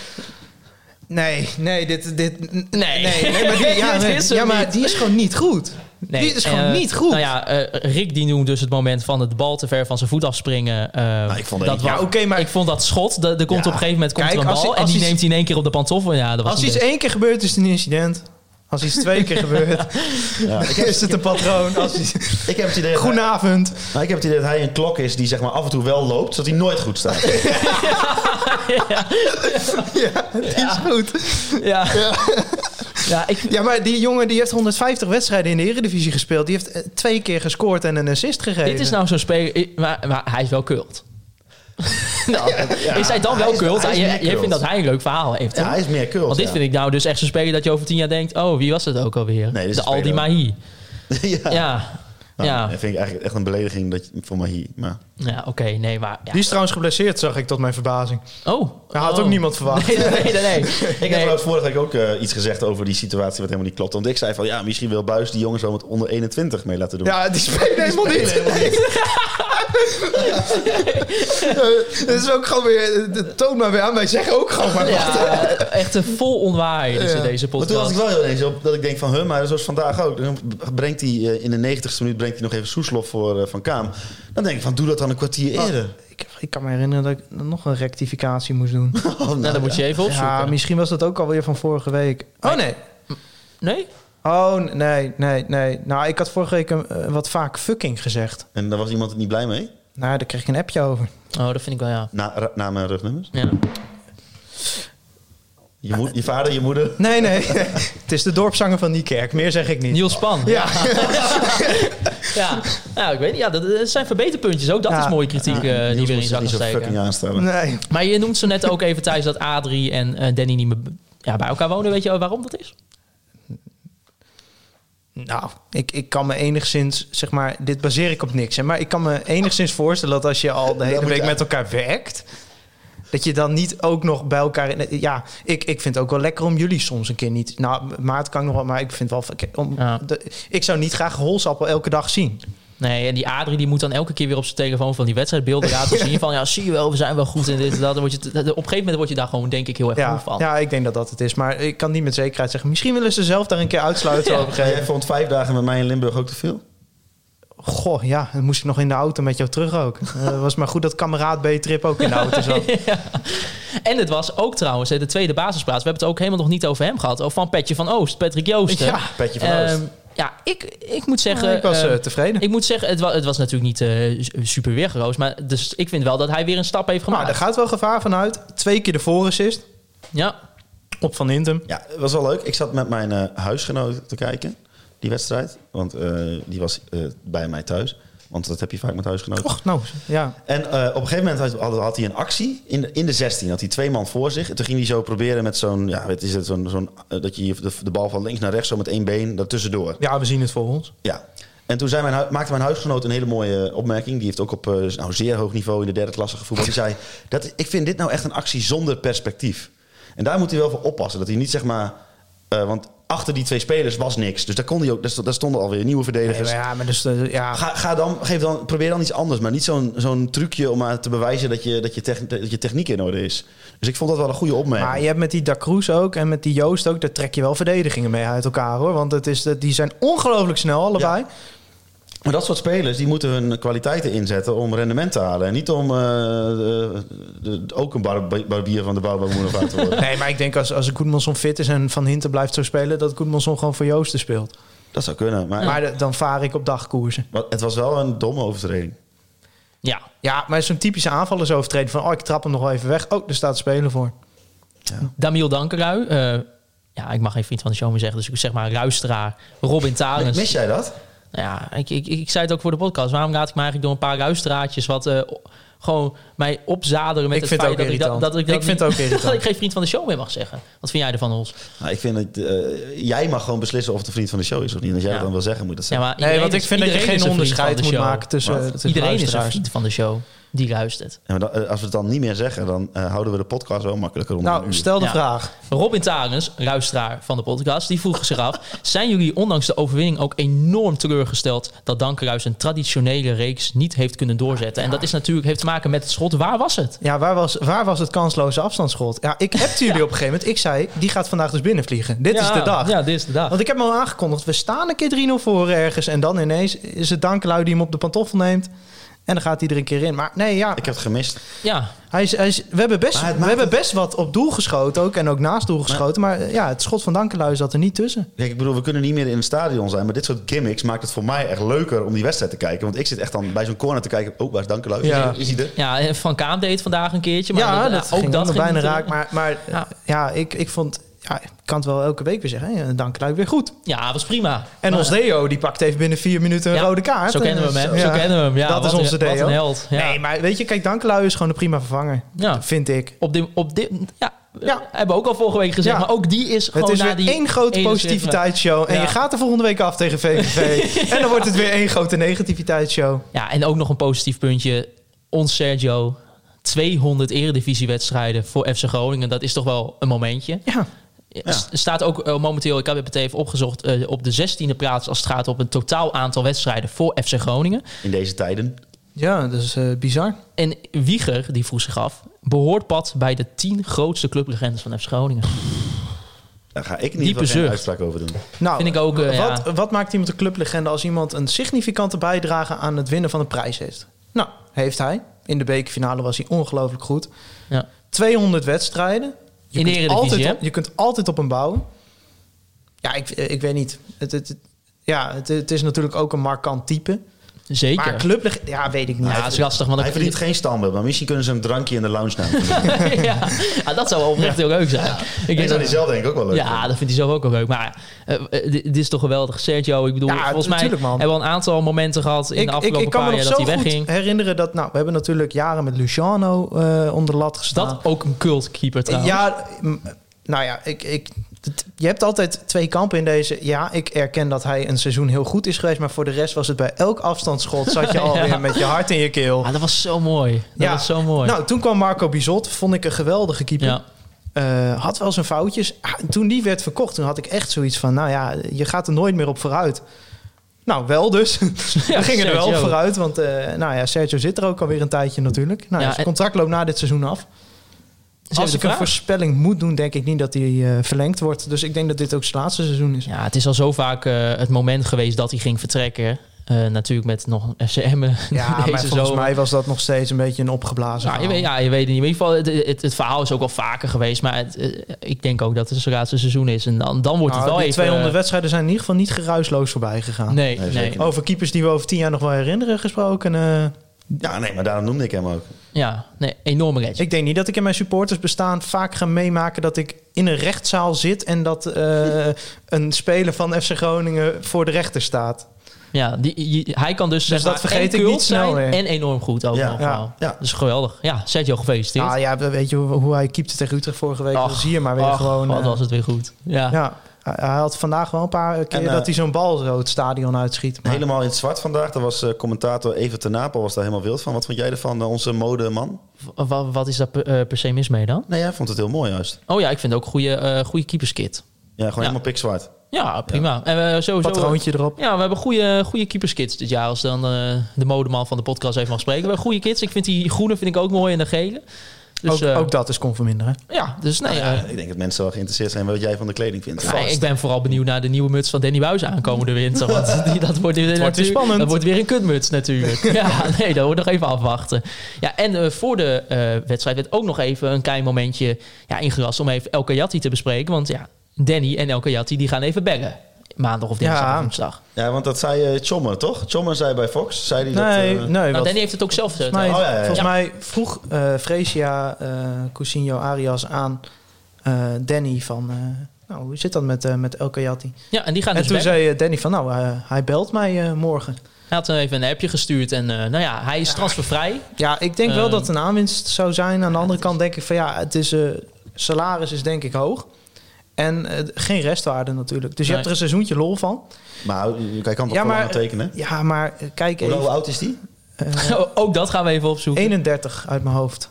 Nee, nee, dit... dit nee, Nee. nee, maar *laughs* die, ja, Dit nee. is hem ja, maar niet. die is gewoon niet goed. Nee, die is gewoon eh, niet goed. Nou ja, eh, Rick die noemt dus het moment van het bal te ver van zijn voet afspringen. eh, ik vond dat het- wa- Ja, oké, maar- ik vond dat schot. Er er komt Ja, op een gegeven moment komt kijk, er een als bal i- en als die iets- neemt hij in één keer op de pantoffel. Ja, dat was Als niet iets best. één keer gebeurt, is het een incident. Als iets twee keer *laughs* gebeurt, *laughs* is het een patroon. Als iets... Ik heb het idee... dat- Goedenavond. Nou, ik heb het idee dat hij een klok is die zeg maar af en toe wel loopt, zodat hij nooit goed staat. Ja, die is goed. Ja. Ja. ik, Ja, maar die jongen die heeft 150 wedstrijden in de Eredivisie gespeeld. Die heeft eh, twee keer gescoord en een assist gegeven. dit is nou zo'n speler, ik- maar, maar hij is wel *laughs* kult. Nou, is hij dan wel hij is- kult? hij is Jij- meer jij kult. vindt dat hij een leuk verhaal heeft. Ja, hè? hij is meer kult. Want dit ja. vind ik nou dus echt zo'n speler dat je over tien jaar denkt... oh, wie was dat ook alweer? dit is de een speler. Aldi Mahi. *laughs* ja. Ja, Nou, ja. Dat vind ik eigenlijk echt een belediging dat, je- voor Mahi. Maar ja oké, nee, maar... Ja. Die is trouwens geblesseerd, zag ik tot mijn verbazing. Oh. Daar had oh. ook niemand verwacht. Nee, nee, nee. nee. *laughs* ik heb trouwens vorige week ook eh, iets gezegd over die situatie wat helemaal niet klopt. Want ik zei van ja, misschien wil Buis die jongens wel met onder 21 mee laten doen. Ja, die spelen helemaal niet. Eh, Dat is ook gewoon weer... eh, Toon maar weer aan. Wij zeggen ook gewoon maar wat. Ja, echt een vol onwaarheid is in Ja. deze Maar toen was podcast. ik wel heel eens op dat ik denk van huh, maar zoals vandaag ook. Dan brengt hij eh, in de 90ste minuut brengt hij nog even Soeslof voor eh, Van Kaam. Dan denk ik van doe dat dan een kwartier Oh. eerder. Ik, ik kan me herinneren dat ik nog een rectificatie moest doen. Oh, nou, nou, dat moet je even opzoeken. Ja, misschien was dat ook alweer van vorige week. Oh nee. Nee? Oh nee, nee, nee. Nou, ik had vorige week een, eh, wat vaak fucking gezegd. En daar was iemand het niet blij mee? Nou, daar kreeg ik een appje over. Oh, dat vind ik wel, ja. Na, ra- na mijn rugnummers? ja. Je, moed- je vader, je moeder. Nee, nee. *laughs* het is de dorpszanger van Niekerk. Meer zeg ik niet. Niels Span. Ja. *laughs* Ja. Ja. ik weet niet. Ja, dat, dat zijn verbeterpuntjes ook. Dat Ja. is mooie kritiek eh, die weer in Niels moet je zich zak niet zo steken. fucking aanstellen. Nee. Maar je noemt zo net ook even thuis dat Adrie en eh, Danny niet meer ja, bij elkaar wonen. Weet je waarom dat is? Nou, ik, ik kan me enigszins, zeg maar, dit baseer ik op niks. Hè, maar ik kan me enigszins voorstellen dat als je al de hele moet week je- met elkaar werkt, dat je dan niet ook nog bij elkaar. in- Ja, ik, ik vind het ook wel lekker om jullie soms een keer niet. Nou, maat kan ik nog wel, maar ik vind wel. verke- Om, Ja. de- ik zou niet graag holsappel elke dag zien. Nee, en die Adrie die moet dan elke keer weer op zijn telefoon van die wedstrijdbeelden *laughs* laten zien. Van ja, zie je wel, we zijn wel goed in dit en dat. Dan word je, t- op een gegeven moment word je daar gewoon, denk ik, heel erg moe Ja, van. ja, ik denk dat dat het is. Maar ik kan niet met zekerheid zeggen. Misschien willen ze zelf daar een keer uitsluiten op een Ga gegeven jij vond vijf dagen met mij in Limburg ook te veel? Goh, ja, dan moest ik nog in de auto met jou terug ook. Eh, was maar goed dat kameraad B-trip ook in de auto zat. En het was ook trouwens hè, de tweede basisplaats. We hebben het ook helemaal nog niet over hem gehad. Over Van Petje van Oost, Patrick Joosten. Ja, Petje van Oost. Ehm, ja, ik, ik moet zeggen... Ja, ik was ehm, eh, tevreden. ik moet zeggen, het was, het was natuurlijk niet eh, s- super weergeroos. Maar dus ik vind wel dat hij weer een stap heeft Maar gemaakt. Nou, daar gaat wel gevaar van uit. Twee keer de voorassist Ja, op Van Hintem. Ja, het was wel leuk. Ik zat met mijn eh, huisgenoot te kijken, die wedstrijd. Want eh, die was eh, bij mij thuis. Want dat heb je vaak met huisgenoten. Och, nou, ja. En eh, op een gegeven moment had, had- had hij een actie in de, in de 16. Had hij twee man voor zich. En toen ging hij zo proberen met zo'n... Ja, wat is het? Zo'n, zo'n, eh, dat je hier de, de bal van links naar rechts zo met één been daartussendoor. Ja, we zien het voor ons. Ja. En toen zei mijn, hu- maakte mijn huisgenoot een hele mooie opmerking. Die heeft ook op eh, nou, zeer hoog niveau in de derde klasse gevoetbald. Die zei, dat, ik vind dit nou echt een actie zonder perspectief. En daar moet hij wel voor oppassen. Dat hij niet zeg maar... eh, want achter die twee spelers was niks. Dus daar, kon hij ook, daar sto- daar stonden alweer nieuwe Nee, verdedigers. maar ja, maar dus, eh, ja. Ga, ga dan, geef dan, probeer dan iets anders. Maar niet zo'n zo'n trucje om maar te bewijzen dat je, dat, je techn- dat je techniek in orde is. Dus ik vond dat wel een goede opmerking. Maar je hebt met die Da Cruz ook en met die Joost ook, daar trek je wel verdedigingen mee uit elkaar hoor. Want het is, dat- die zijn ongelooflijk snel allebei. Maar dat soort spelers die moeten hun kwaliteiten inzetten om rendement te halen. En niet om eh, de- de- ook een bar- barbier van de bouwbouwmoeder of aan te worden. Nee, maar ik denk als, als Goedmanson fit is en Van Hinten blijft zo spelen, dat Goedmanson gewoon voor Joosten speelt. *laughs* dat zou kunnen. Maar, Maar de- dan vaar ik op dagkoersen. maar het was wel een domme overtreding. ja. Ja, maar zo'n typische aanvallersovertreding van, oh, ik trap hem nog wel even weg. Oh, daar staat te spelen voor. Damiel Dankerui. eh, ja, ik mag geen vriend van de show meer zeggen. Dus ik zeg maar luisteraar. Robin Tarens. Mis jij dat? Nou ja, ik, ik, ik zei het ook voor de podcast. Waarom laat ik me eigenlijk door een paar luisteraartjes wat eh, o- gewoon mij opzaderen met het Ik vind het feit ook dat ik dat, irritant. dat ik dat Ik niet- vind *laughs* het ook irritant. dat ik geen vriend van de show meer mag zeggen. Wat vind jij ervan, Hols? Nou, ik vind dat eh, jij mag gewoon beslissen of het een vriend van de show is of niet. En als jij Ja. dat dan wil zeggen, moet je dat Ja, zeggen. maar Nee, iedereen want ik is- vind dat je iedereen is geen een vriend onderscheid van de moet show. maken tussen, Wat? tussen Iedereen is een luisteraars. vriend van de show die luistert. Ja, maar dan- eh, als we het dan niet meer zeggen, dan eh, houden we de podcast wel makkelijker onder een Nou, uur. stel de Ja. vraag. Robin Tarens, luisteraar van de podcast, die vroeg zich *laughs* af... zijn jullie ondanks de overwinning ook enorm teleurgesteld... dat Dankerhuis een traditionele reeks niet heeft kunnen doorzetten? En dat is natuurlijk, heeft te maken met het schot. Waar was het? Ja, waar was, waar was het kansloze afstandsschot? Ja, ik *laughs* heb jullie op een gegeven moment. Ik zei, die gaat vandaag dus binnenvliegen. Dit is Ja, de dag. Ja, dit is de dag. Want ik heb me al aangekondigd, we staan een keer 3-0 voor ergens. En dan ineens is het Dankelui die hem op de pantoffel neemt. En dan gaat hij er een keer in. Maar nee, ja, Ik heb het gemist. Ja, hij is, hij is, we, hebben best, Maar het we maakt hebben best wat op doel geschoten ook. En ook naast doel geschoten. Maar, eh, ja, het schot van Dankelui zat er niet tussen. Kijk, ik bedoel, we kunnen niet meer in het stadion zijn. Maar dit soort gimmicks maakt het voor mij echt leuker om die wedstrijd te kijken. Want ik zit echt dan bij zo'n corner te kijken. Oh, waar is Dankelui? Is Ja. hij- Is hij er? Ja, en Van Kaam deed het vandaag een keertje. Maar ja, dat, dat ook ging dat dat ging bijna niet, eh, raak. Maar, maar eh, ja, Ja. ik, ik vond... Ja, ik kan het wel elke week weer zeggen. hè, Dankelui weer goed. Ja, was prima. En Maar- ons Deo, die pakt even binnen vier minuten een Ja, rode kaart. Dus, Zo kennen we hem, hè? Ja. Zo kennen we hem. Ja, dat is wat onze een, wat Deo. een held. Ja. Nee, maar weet je, kijk, Dankelui is gewoon een prima vervanger. Ja. Vind ik. Op dit... Op dit ja, Ja. hebben we ook al vorige week gezegd. Ja. Maar ook die is gewoon het is na weer die één grote 71. positiviteitsshow. En Ja. je gaat er volgende week af *laughs* tegen VVV. En dan wordt het weer één grote negativiteitsshow. Ja, en ook nog een positief puntje. Ons Sergio, 200 eredivisiewedstrijden voor FC Groningen. Dat is toch wel een momentje. Ja. S- Staat ook eh, momenteel, ik heb het even opgezocht, eh, op de 16e plaats als het gaat op een totaal aantal wedstrijden voor FC Groningen. In deze tijden. Ja, dat is eh, bizar. En Wieger, die vroeg zich af, behoort Pat bij de tien grootste clublegendes van FC Groningen? Daar ga ik in Diepe ieder geval geen zucht. uitspraak over doen. Nou, Vind ik ook, eh, wat, wat maakt iemand een clublegende als iemand een significante bijdrage aan het winnen van een prijs heeft? Nou, heeft hij. In de bekerfinale was hij ongelooflijk goed. Ja. 200 wedstrijden. Je In de kunt Eredivisie, altijd hè? op- Je kunt altijd op hem bouwen. eh, Ja, ik, ik weet niet. Het, het, het- ja, het, het is natuurlijk ook een markant type. Zeker. Maar club, ja, weet ik niet. ja, dat is lastig. Want Hij dan- verdient geen standbeeld, maar misschien kunnen ze een drankje in de lounge nemen. *laughs* ja, Ah, dat zou wel oprecht heel leuk zijn. Ik Ik denk zou dat, die zelf denk ik ook wel leuk ja, dat vindt hij zelf ook wel leuk. Maar eh, eh, dit, dit is toch geweldig, Sergio. Ik bedoel, Ja, volgens mij tuurlijk, man. hebben we een aantal momenten gehad in de afgelopen paar jaar dat hij wegging. herinneren dat... Nou, we hebben natuurlijk jaren met Luciano eh, onder de lat Is gestaan. dat ook een cultkeeper trouwens? Ja, m, nou ja, ik, ik, het- je hebt altijd twee kampen in deze. Ja, ik erken dat hij een seizoen heel goed is geweest. Maar voor de rest was het bij elk afstandsschot... *laughs* zat je alweer met je hart in je keel. Ah, dat was zo mooi. Dat Ja. was zo mooi. Nou, toen kwam Marco Bizot. Vond ik een geweldige keeper. ja. Eh, had wel zijn foutjes. Ah, toen die werd verkocht, toen had ik echt zoiets van... nou ja, je gaat er nooit meer op vooruit. Nou, wel dus. *laughs* Ja, We gingen er wel op Sergio. vooruit. Want eh, nou ja, Sergio zit er ook alweer een tijdje natuurlijk. Nou, Ja, ja, zijn en- contract loopt na dit seizoen af. Ze Als hebben ik de een vraag. voorspelling moet doen, denk ik niet dat hij eh, verlengd wordt. Dus ik denk dat dit ook zijn laatste seizoen is. Ja, het is al zo vaak eh, het moment geweest dat hij ging vertrekken. Eh, natuurlijk met nog *laughs* FCM. *laughs* Ja, maar volgens mij was dat nog steeds een beetje een opgeblazen Ja, Nou, je weet, verhaal. ja, je weet het niet. Maar in ieder geval, het, het, het verhaal is ook al vaker geweest. Maar het, eh, ik denk ook dat het zijn laatste seizoen is. En dan, dan wordt het Nou, wel die even... eh, 200 wedstrijden zijn in ieder geval niet geruisloos voorbij gegaan. Nee, Nee, nee. zeker niet. Over keepers die we over tien jaar nog wel herinneren gesproken. eh, Ja, nee, maar daarom noemde ik hem ook. Ja, nee, enorme rechts. ik denk niet dat ik in mijn supportersbestaan vaak ga meemaken dat ik in een rechtszaal zit en dat eh, een speler van FC Groningen voor de rechter staat. Ja, die, je- hij kan dus, zeg dat maar, vergeet en ik cult niet snel zijn meer. en enorm goed ook Ja, nog ja, wel. ja. Dus geweldig. Ja, Sergio, gefeliciteerd. Nou ja, weet je hoe, hoe hij keepte tegen Utrecht vorige week? Dan zie je maar weer ach, gewoon. Wat eh, was het weer goed. Ja, ja. Ja, hij hij had vandaag wel een paar keer En, eh, dat hij zo'n bal zo het stadion uitschiet. Maar Helemaal in het zwart vandaag. Daar was eh, commentator Evert ten Napel was daar helemaal wild van. Wat vond jij ervan, eh, onze modeman? Wat, is daar per, eh, per se mis mee dan? Nee, hij vond het heel mooi juist. Oh ja, ik vind ook een goede, eh goede keeperskit. Ja, gewoon helemaal pikzwart. Ja, prima. En we sowieso... patroontje erop. Ja, we hebben goede, goede keeperskits dit jaar. Als dan eh, de modeman van de podcast even mag spreken. We hebben goede kits. Ik vind die groene vind ik ook mooi en de gele. Dus, ook, eh, ook Nou dat is kon verminderen. Ja, dus nee. eh, Ik denk dat mensen wel geïnteresseerd zijn wat jij van de kleding vindt. nee, ik ben vooral benieuwd naar de nieuwe muts van Danny Buis aankomende winter. Want *laughs* die, dat wordt, weer wordt weer natuurlijk- spannend. Dat wordt weer een kutmuts natuurlijk. *laughs* ja, nee, dat wordt nog even afwachten. Ja, en eh, voor de eh, wedstrijd werd ook nog even een klein momentje ja, ingerast om even El Kayati te bespreken. Want ja, Danny en El Kayati die gaan even bellen. Maandag of dinsdag Ja. of woensdag. Ja, want dat zei eh Chomme, toch? Chomme zei bij Fox. Zei die Nee, dat, eh, nee. Nou, want Danny heeft het ook zelf gezegd. volgens mij, Oh, ja, ja, ja. volgens mij vroeg eh Fresia eh Cousinho Arias aan eh, Danny van... eh, nou, hoe zit dat met, eh, met El Kayati? Ja, en die gaan En dus toen bellen. zei eh, Danny van, nou, eh, hij belt mij eh, morgen. Hij had eh, even een appje gestuurd en eh, nou ja, hij is transfervrij. Ja, ik denk wel Ehm. dat het een aanwinst zou zijn. Aan de andere kant denk ik van ja, het is, eh, salaris is denk ik hoog. En eh, geen restwaarde natuurlijk. Dus je Nee. hebt er een seizoentje lol van. Maar hij kan toch Ja, wel maar- aan tekenen? Ja, maar eh, kijk Hoe even. hoe oud is die? *laughs* eh, ook dat gaan we even opzoeken. 31 uit mijn hoofd.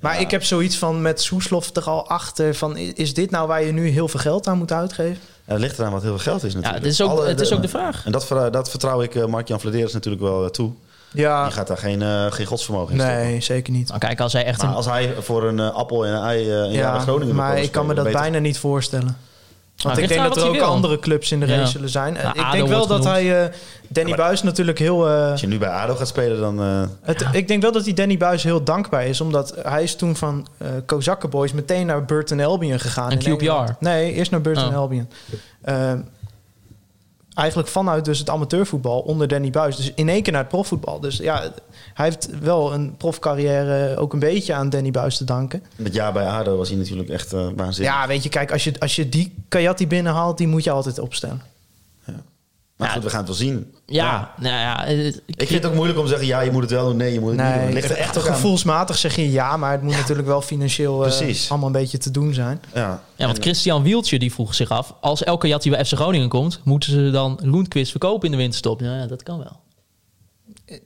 Maar ik heb zoiets van met Soeslof er al achter. Van, i- is dit nou waar je nu heel veel geld aan moet uitgeven? Ja, het ligt eraan wat heel veel geld is ja, natuurlijk. het is ook, Alle- het is ook de vraag. En dat, ver- dat vertrouw ik eh, Mark-Jan Vladeres natuurlijk wel eh, toe. Ja, Die gaat daar geen, eh, geen godsvermogen in stoppen. Ah. nee, zeker niet. Nou, Ah, kijk, als hij echt Maar een... als hij voor een eh, appel en een ei eh, een jaar Ja, bij Groningen wil maar komen ik kan me dat spelen, beter- bijna niet voorstellen. Want Nou, ik ligt denk aan dat wat er ook hij wil. andere clubs in de Ja. race zullen zijn. Eh, Nou, ik ADO denk wel wordt dat hij genoemd. eh, Danny Buis natuurlijk heel... eh, Als je nu bij ADO gaat spelen, dan... eh, het, Ik denk wel dat hij Danny Buis heel dankbaar is. Omdat hij is toen van eh Kozakke Boys meteen naar Burton Albion gegaan. En in QPR. Engeland. Nee, eerst naar Burton Oh. Albion. Eh, eigenlijk vanuit dus het amateurvoetbal onder Danny Buis. Dus in één keer naar het profvoetbal. Dus ja, hij heeft wel een profcarrière ook een beetje aan Danny Buis te danken. dat jaar bij ADO was hij natuurlijk echt eh, waanzinnig. Ja, weet je, kijk, als je, als je die Kayati binnenhaalt, die moet je altijd opstellen. Maar Ja. goed, we gaan het wel zien. Ja, nou ja. eh, Ik vind het ook moeilijk om te zeggen, ja, je moet het wel doen. Nee, je moet het niet doen. Het ligt er echt ook aan. eh, gevoelsmatig zeg je ja, maar het moet natuurlijk wel financieel eh, Precies. allemaal een beetje te doen zijn. Ja. Ja, want Christian Wieltje die vroeg zich af... als elke jat die bij FC Groningen komt... moeten ze dan Loendquist verkopen in de winterstop? Nou ja, dat kan wel.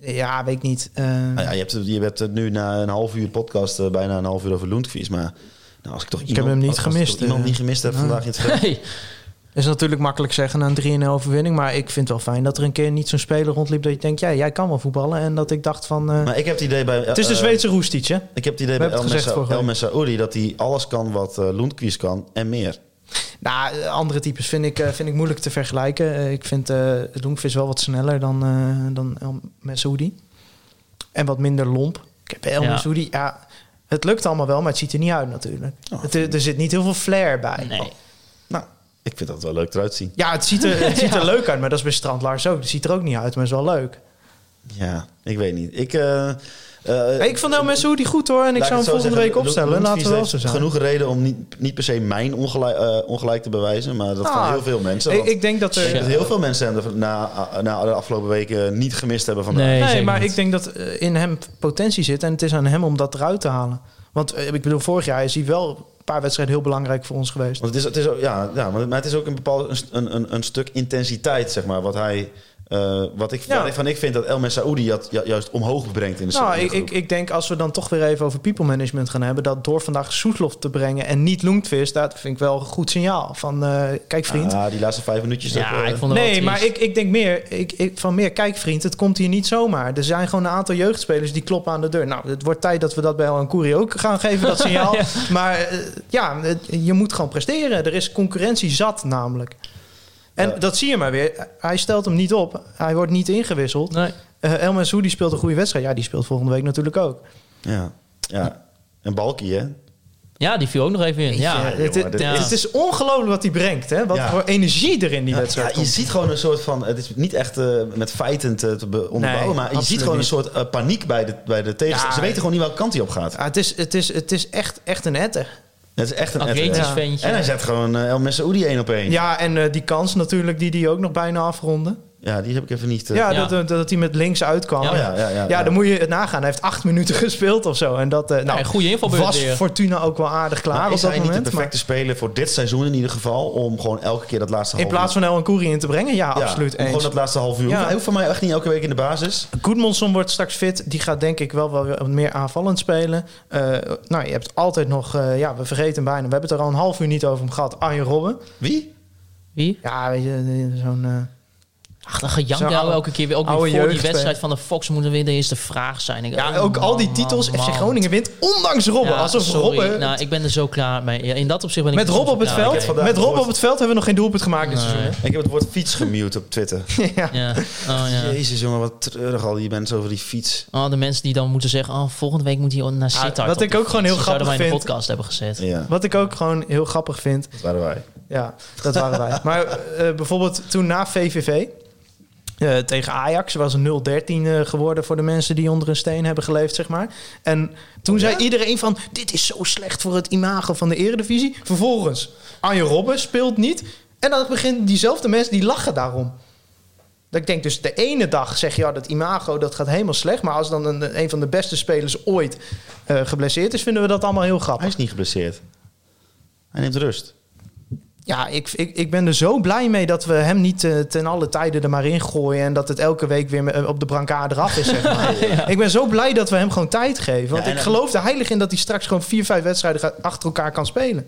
Ja, weet ik niet. Eh, Nou ja, je, hebt, het- je hebt het nu na een half uur podcast, eh, bijna een half uur over Loentkvies. Maar nou, als ik toch iemand, heb hem niet als ik toch gemist, iemand eh. niet gemist heb vandaag in het *laughs* veld. Hey, is natuurlijk makkelijk zeggen na een 3-0 overwinning, maar ik vind het wel fijn dat er een keer niet zo'n speler rondliep dat je denkt, ja, jij kan wel voetballen. En dat ik dacht van, eh, Maar ik heb het idee bij... eh, het is de eh, Zweedse roestiet, hè? Ik heb het We idee bij hebben El, het gezegd Messa, vorige El week. Messaoudi dat hij alles kan wat eh Lundqvist kan en meer. Nou, eh, andere types vind ik, eh, vind ik moeilijk te vergelijken. Eh, ik vind eh Loenvis wel wat sneller dan, eh dan El Messoudi. En wat minder lomp. Ik heb bij El Ja. Messoudi, ja, het lukt allemaal wel, maar het ziet er niet uit natuurlijk. Oh. Het, eh, er zit niet heel veel flair bij. nee. Nou, ik vind dat wel leuk eruit zien. *laughs* Ja, het ziet er, het ziet er leuk uit, maar dat is bij Strand Lars ook. Het ziet er ook niet uit, maar is wel leuk. Ja, ik weet niet. Ik, eh, eh, laat ik vond El Messi die goed hoor. En ik het zou hem zo volgende zeggen, week opstellen. Loet- Laten we Loetvries wel zo zijn. heeft Genoeg reden om niet, niet per se mijn ongelijk, eh, ongelijk te bewijzen, maar dat Ah, van heel veel mensen. Ik, want ik denk dat ik er... denk dat heel veel mensen hem de- na, na de afgelopen weken niet gemist hebben van de- Nee, Nee, zeker maar niet. ik denk dat eh, in hem potentie zit. En het is aan hem om dat eruit te halen. Want eh, ik bedoel, vorig jaar is hij wel een paar wedstrijden heel belangrijk voor ons geweest. Want het is, het is ook, ja, ja, maar maar het is ook een bepaald een st- een, een, een stuk intensiteit, zeg maar, wat hij. eh, wat ik, Ja. van waarvan ik vind dat El Messaoudi dat ju- juist omhoog brengt in de Nou, in de ik, groep. ik, ik denk als we dan toch weer even over people management gaan hebben... dat door vandaag Soetlof te brengen en niet Loentvist... dat vind ik wel een goed signaal. Van, eh, kijk vriend. Ah, die laatste vijf minuutjes. dat, Ja, eh, ik vond het wel nee, triest. maar ik, ik denk meer, ik, ik, van meer, kijk vriend, het komt hier niet zomaar. Er zijn gewoon een aantal jeugdspelers die kloppen aan de deur. Nou, het wordt tijd dat we dat bij El Ancuri ook gaan geven, *laughs* dat signaal. Maar eh, ja, het- je moet gewoon presteren. Er is concurrentie zat namelijk. En Ja. dat zie je maar weer. Hij stelt hem niet op. Hij wordt niet ingewisseld. Nee. Eh El Mensou, die speelt een goede wedstrijd. Ja, die speelt volgende week natuurlijk ook. ja, ja. En Balki, hè? Ja, die viel ook nog even in. Ja. Jeetje, Eh, het, jongen, dit het- is- het is ongelooflijk wat hij brengt. Hè? Wat Ja. voor energie er in die Ja, wedstrijd je komt. ziet gewoon een soort van. Het is niet echt eh, met feiten te, te be- onderbouwen, Nee, maar je ziet absoluut gewoon niet. een soort eh, paniek bij de, bij de tegenstander. Ja. Ze weten gewoon niet welke kant hij op gaat. Ja, Ah, het is, het is, het is echt, echt een etter. Het is echt een Atletisch atleet. ventje. En hij zet gewoon eh, El Messaoudi één op één. Ja. Ja, en eh, die kans natuurlijk, die die ook nog bijna afronden. die heb ik even niet. eh, ja, ja. Dat, dat, dat hij met links uitkwam. Ja. oh, Ja, ja, ja, ja, dan moet je het nagaan. Hij heeft acht minuten *laughs* gespeeld of zo. En dat eh, nou, Ja, een goede invalbeurt was weer. Fortuna ook wel aardig klaar Maar op is dat hij niet de moment. perfecte speler voor dit seizoen in ieder geval? Om gewoon elke keer dat laatste maar in half plaats uur... van El Koeri in te brengen, ja, Ja, absoluut om Gewoon eens. dat laatste half uur. Ja. Ja. Hij hoeft van mij echt niet elke week in de basis. Goedmanson wordt straks fit. Die gaat denk ik wel, wel weer wat meer aanvallend spelen. Eh, nou, je hebt altijd nog... eh, ja, we vergeten hem bijna. We hebben het er al een half uur niet over hem gehad. Arjen Robben. Wie? Wie? Ja, weet je, eh, zo'n... eh, Ach, dan gejank Zo'n jou oude- elke keer weer. Ook weer oude voor die jeugdspeler. wedstrijd van de Fox moet er weer de eerste vraag zijn. Ik- ja, oh, ook al die man, titels. man. FC Groningen wint ondanks Robben. Ja, alsof sorry. Robben... Nou, ik ben er zo klaar mee. Ja, in dat opzicht ben ik Met er Rob zo op het klaar mee. veld? vandaag Met Rob gehoord. op het veld hebben we nog geen doelpunt gemaakt dit Nee. seizoen. Ik heb het woord fiets gemute op Twitter. *laughs* hè? Ja. Ja. Oh, *laughs* ja. Jezus jongen, wat treurig al die mensen over die fiets. Oh, de mensen die dan moeten zeggen, oh, volgende week moet hij naar Sittard. Ah, wat op de ik ook fiets. gewoon heel Die zouden grappig wij in de vind. podcast hebben gezet. Ja, Wat ik ook gewoon heel grappig vind. dat waren wij. Ja, dat waren wij. Maar eh, bijvoorbeeld toen na VVV eh, tegen Ajax was een 0-13 eh, geworden voor de mensen die onder een steen hebben geleefd, zeg maar. En toen zei iedereen van, dit is zo slecht voor het imago van de eredivisie. Vervolgens, Arjen Robben speelt niet. En dan beginnen diezelfde mensen, die lachen daarom. Dat ik denk dus de ene dag zeg je ja, dat imago dat gaat helemaal slecht. Maar als dan een, een van de beste spelers ooit eh, geblesseerd is, vinden we dat allemaal heel grappig. Hij is niet geblesseerd. Hij neemt rust. Ja, ik, ik, ik ben er zo blij mee dat we hem niet eh, ten alle tijden er maar in gooien. En dat het elke week weer me- eh, op de brancard eraf is. Zeg maar. Ik ben zo blij dat we hem gewoon tijd geven. Want Ja, en- ik geloof er heilig in dat hij straks gewoon vier, vijf wedstrijden gaat- achter elkaar kan spelen.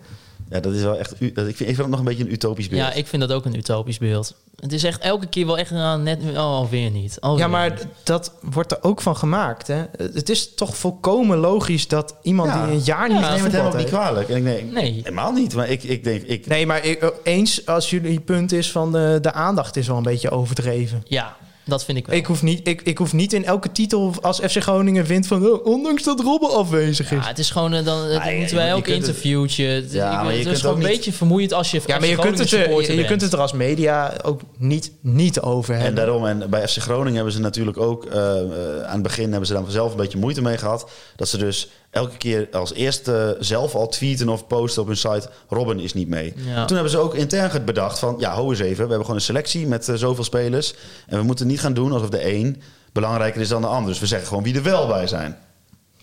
Ja, dat is wel echt... u- dat- Ik vind, ik vind dat nog een beetje een utopisch beeld. Ja, ik vind dat ook een utopisch beeld. Het is echt elke keer wel echt ah, net... Oh, alweer niet. Alweer Ja, maar niet. d- dat wordt er ook van gemaakt. Hè? Het is toch volkomen logisch dat iemand Ja. die een jaar niet Ik neem het hem voetbalt ook niet heeft- kwalijk. En ik nee, Nee. Helemaal niet, maar ik, ik denk... Ik, Nee, maar ik- eens als jullie punt is van eh, de, de aandacht is wel een beetje overdreven. Ja, dat vind ik wel. Ik hoef, niet, ik, ik hoef niet in elke titel als FC Groningen wint van... oh, ondanks dat Robben afwezig is. Ja, het is gewoon, eh, dan eh, Ah, ja, moeten wij je elk kunt het- interviewtje. Het, Ja, ik- maar je het kunt is gewoon ook een niet- beetje vermoeiend als je. Ja, maar je kunt, het, er- je, je kunt het er als media ook niet, niet over En hebben. daarom, en bij FC Groningen hebben ze natuurlijk ook eh, eh, aan het begin hebben ze dan zelf een beetje moeite mee gehad. Dat ze dus elke keer als eerste zelf al tweeten of posten op hun site: Robin is niet mee. Ja. Toen hebben ze ook intern het bedacht van: ja, ho eens even, we hebben gewoon een selectie met eh, zoveel spelers. En we moeten niet gaan doen alsof de een belangrijker is dan de ander. Dus we zeggen gewoon wie er wel bij zijn.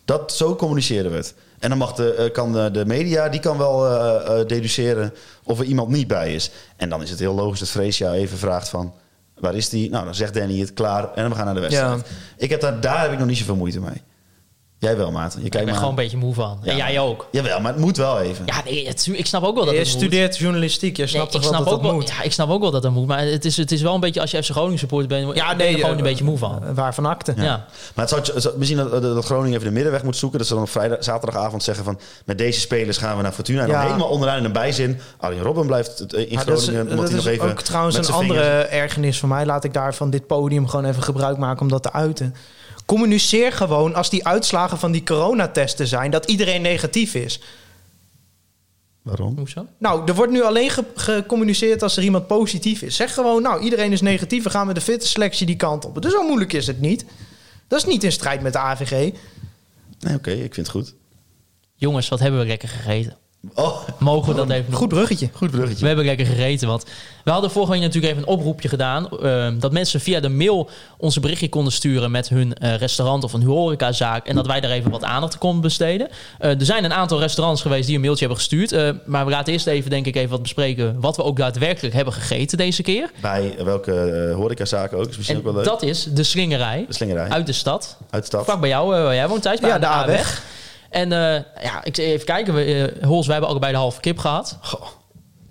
Dat, zo communiceren we het. En dan mag de, eh, kan de, de media die kan wel eh, eh, deduceren of er iemand niet bij is. En dan is het heel logisch dat Freesia even vraagt van... waar is die? Nou, dan zegt Danny het, klaar. En we gaan naar de wedstrijd. Ja. Ik heb daar, daar heb ik nog niet zoveel moeite mee. Jij wel, Maarten. Je kijkt Ik ben maar gewoon een aan. beetje moe van. en jij ook. Jawel, maar het moet wel even. Ja, nee, het- ik snap ook wel dat je het moet. studeert journalistiek, je Nee, snapt ik, toch wel snap dat ook dat wel, moet. ja, ik snap ook wel dat dat moet. Maar het is, het is wel een beetje als je FC Groningen supporter bent. Ja, nee, ben je er gewoon eh, een beetje moe van. Eh, Waarvan akte. Ja. Maar het zou, het zou- misschien dat, dat Groningen even de middenweg moet zoeken. Dat ze dan op vrijdag, zaterdagavond zeggen van... met deze spelers gaan we naar Fortuna. En Ja. dan helemaal onderaan in een bijzin. Arjen Robben blijft het, eh, in Maar dat is, Groningen. omdat dat hij nog is even ook trouwens met een zijn vingers- andere ergernis van mij. Laat ik daar van dit podium gewoon even gebruik maken om dat te uiten. Communiceer gewoon als die uitslagen van die coronatesten zijn... dat iedereen negatief is. Waarom? Hoezo? Nou, er wordt nu alleen ge- gecommuniceerd als er iemand positief is. Zeg gewoon, nou, iedereen is negatief. We gaan met de fitte selectie die kant op. Dus zo moeilijk is het niet. Dat is niet in strijd met de AVG. Nee, oké, ik vind het goed. Jongens, wat hebben we lekker gegeten? Oh, Mogen we dat even nog- Goed bruggetje. goed We bruggetje. hebben lekker gegeten, want we hadden vorige week natuurlijk even een oproepje gedaan. eh, dat mensen via de mail onze berichtje konden sturen met hun eh, restaurant of een horecazaak. En dat wij daar even wat aandacht konden besteden. Eh, er zijn een aantal restaurants geweest die een mailtje hebben gestuurd. eh, maar we laten eerst even, denk ik, even wat bespreken wat we ook daadwerkelijk hebben gegeten deze keer. Bij eh, welke eh, horecazaken ook, is misschien En ook wel leuk. dat is de slingerij De slingerij, uit, uit de stad. de stad. Vlak bij jou, eh, waar jij woont thuis. bij Ja, aan de A-weg. En eh, ja, ik even kijken. We, eh, Hols, wij hebben allebei de halve kip gehad.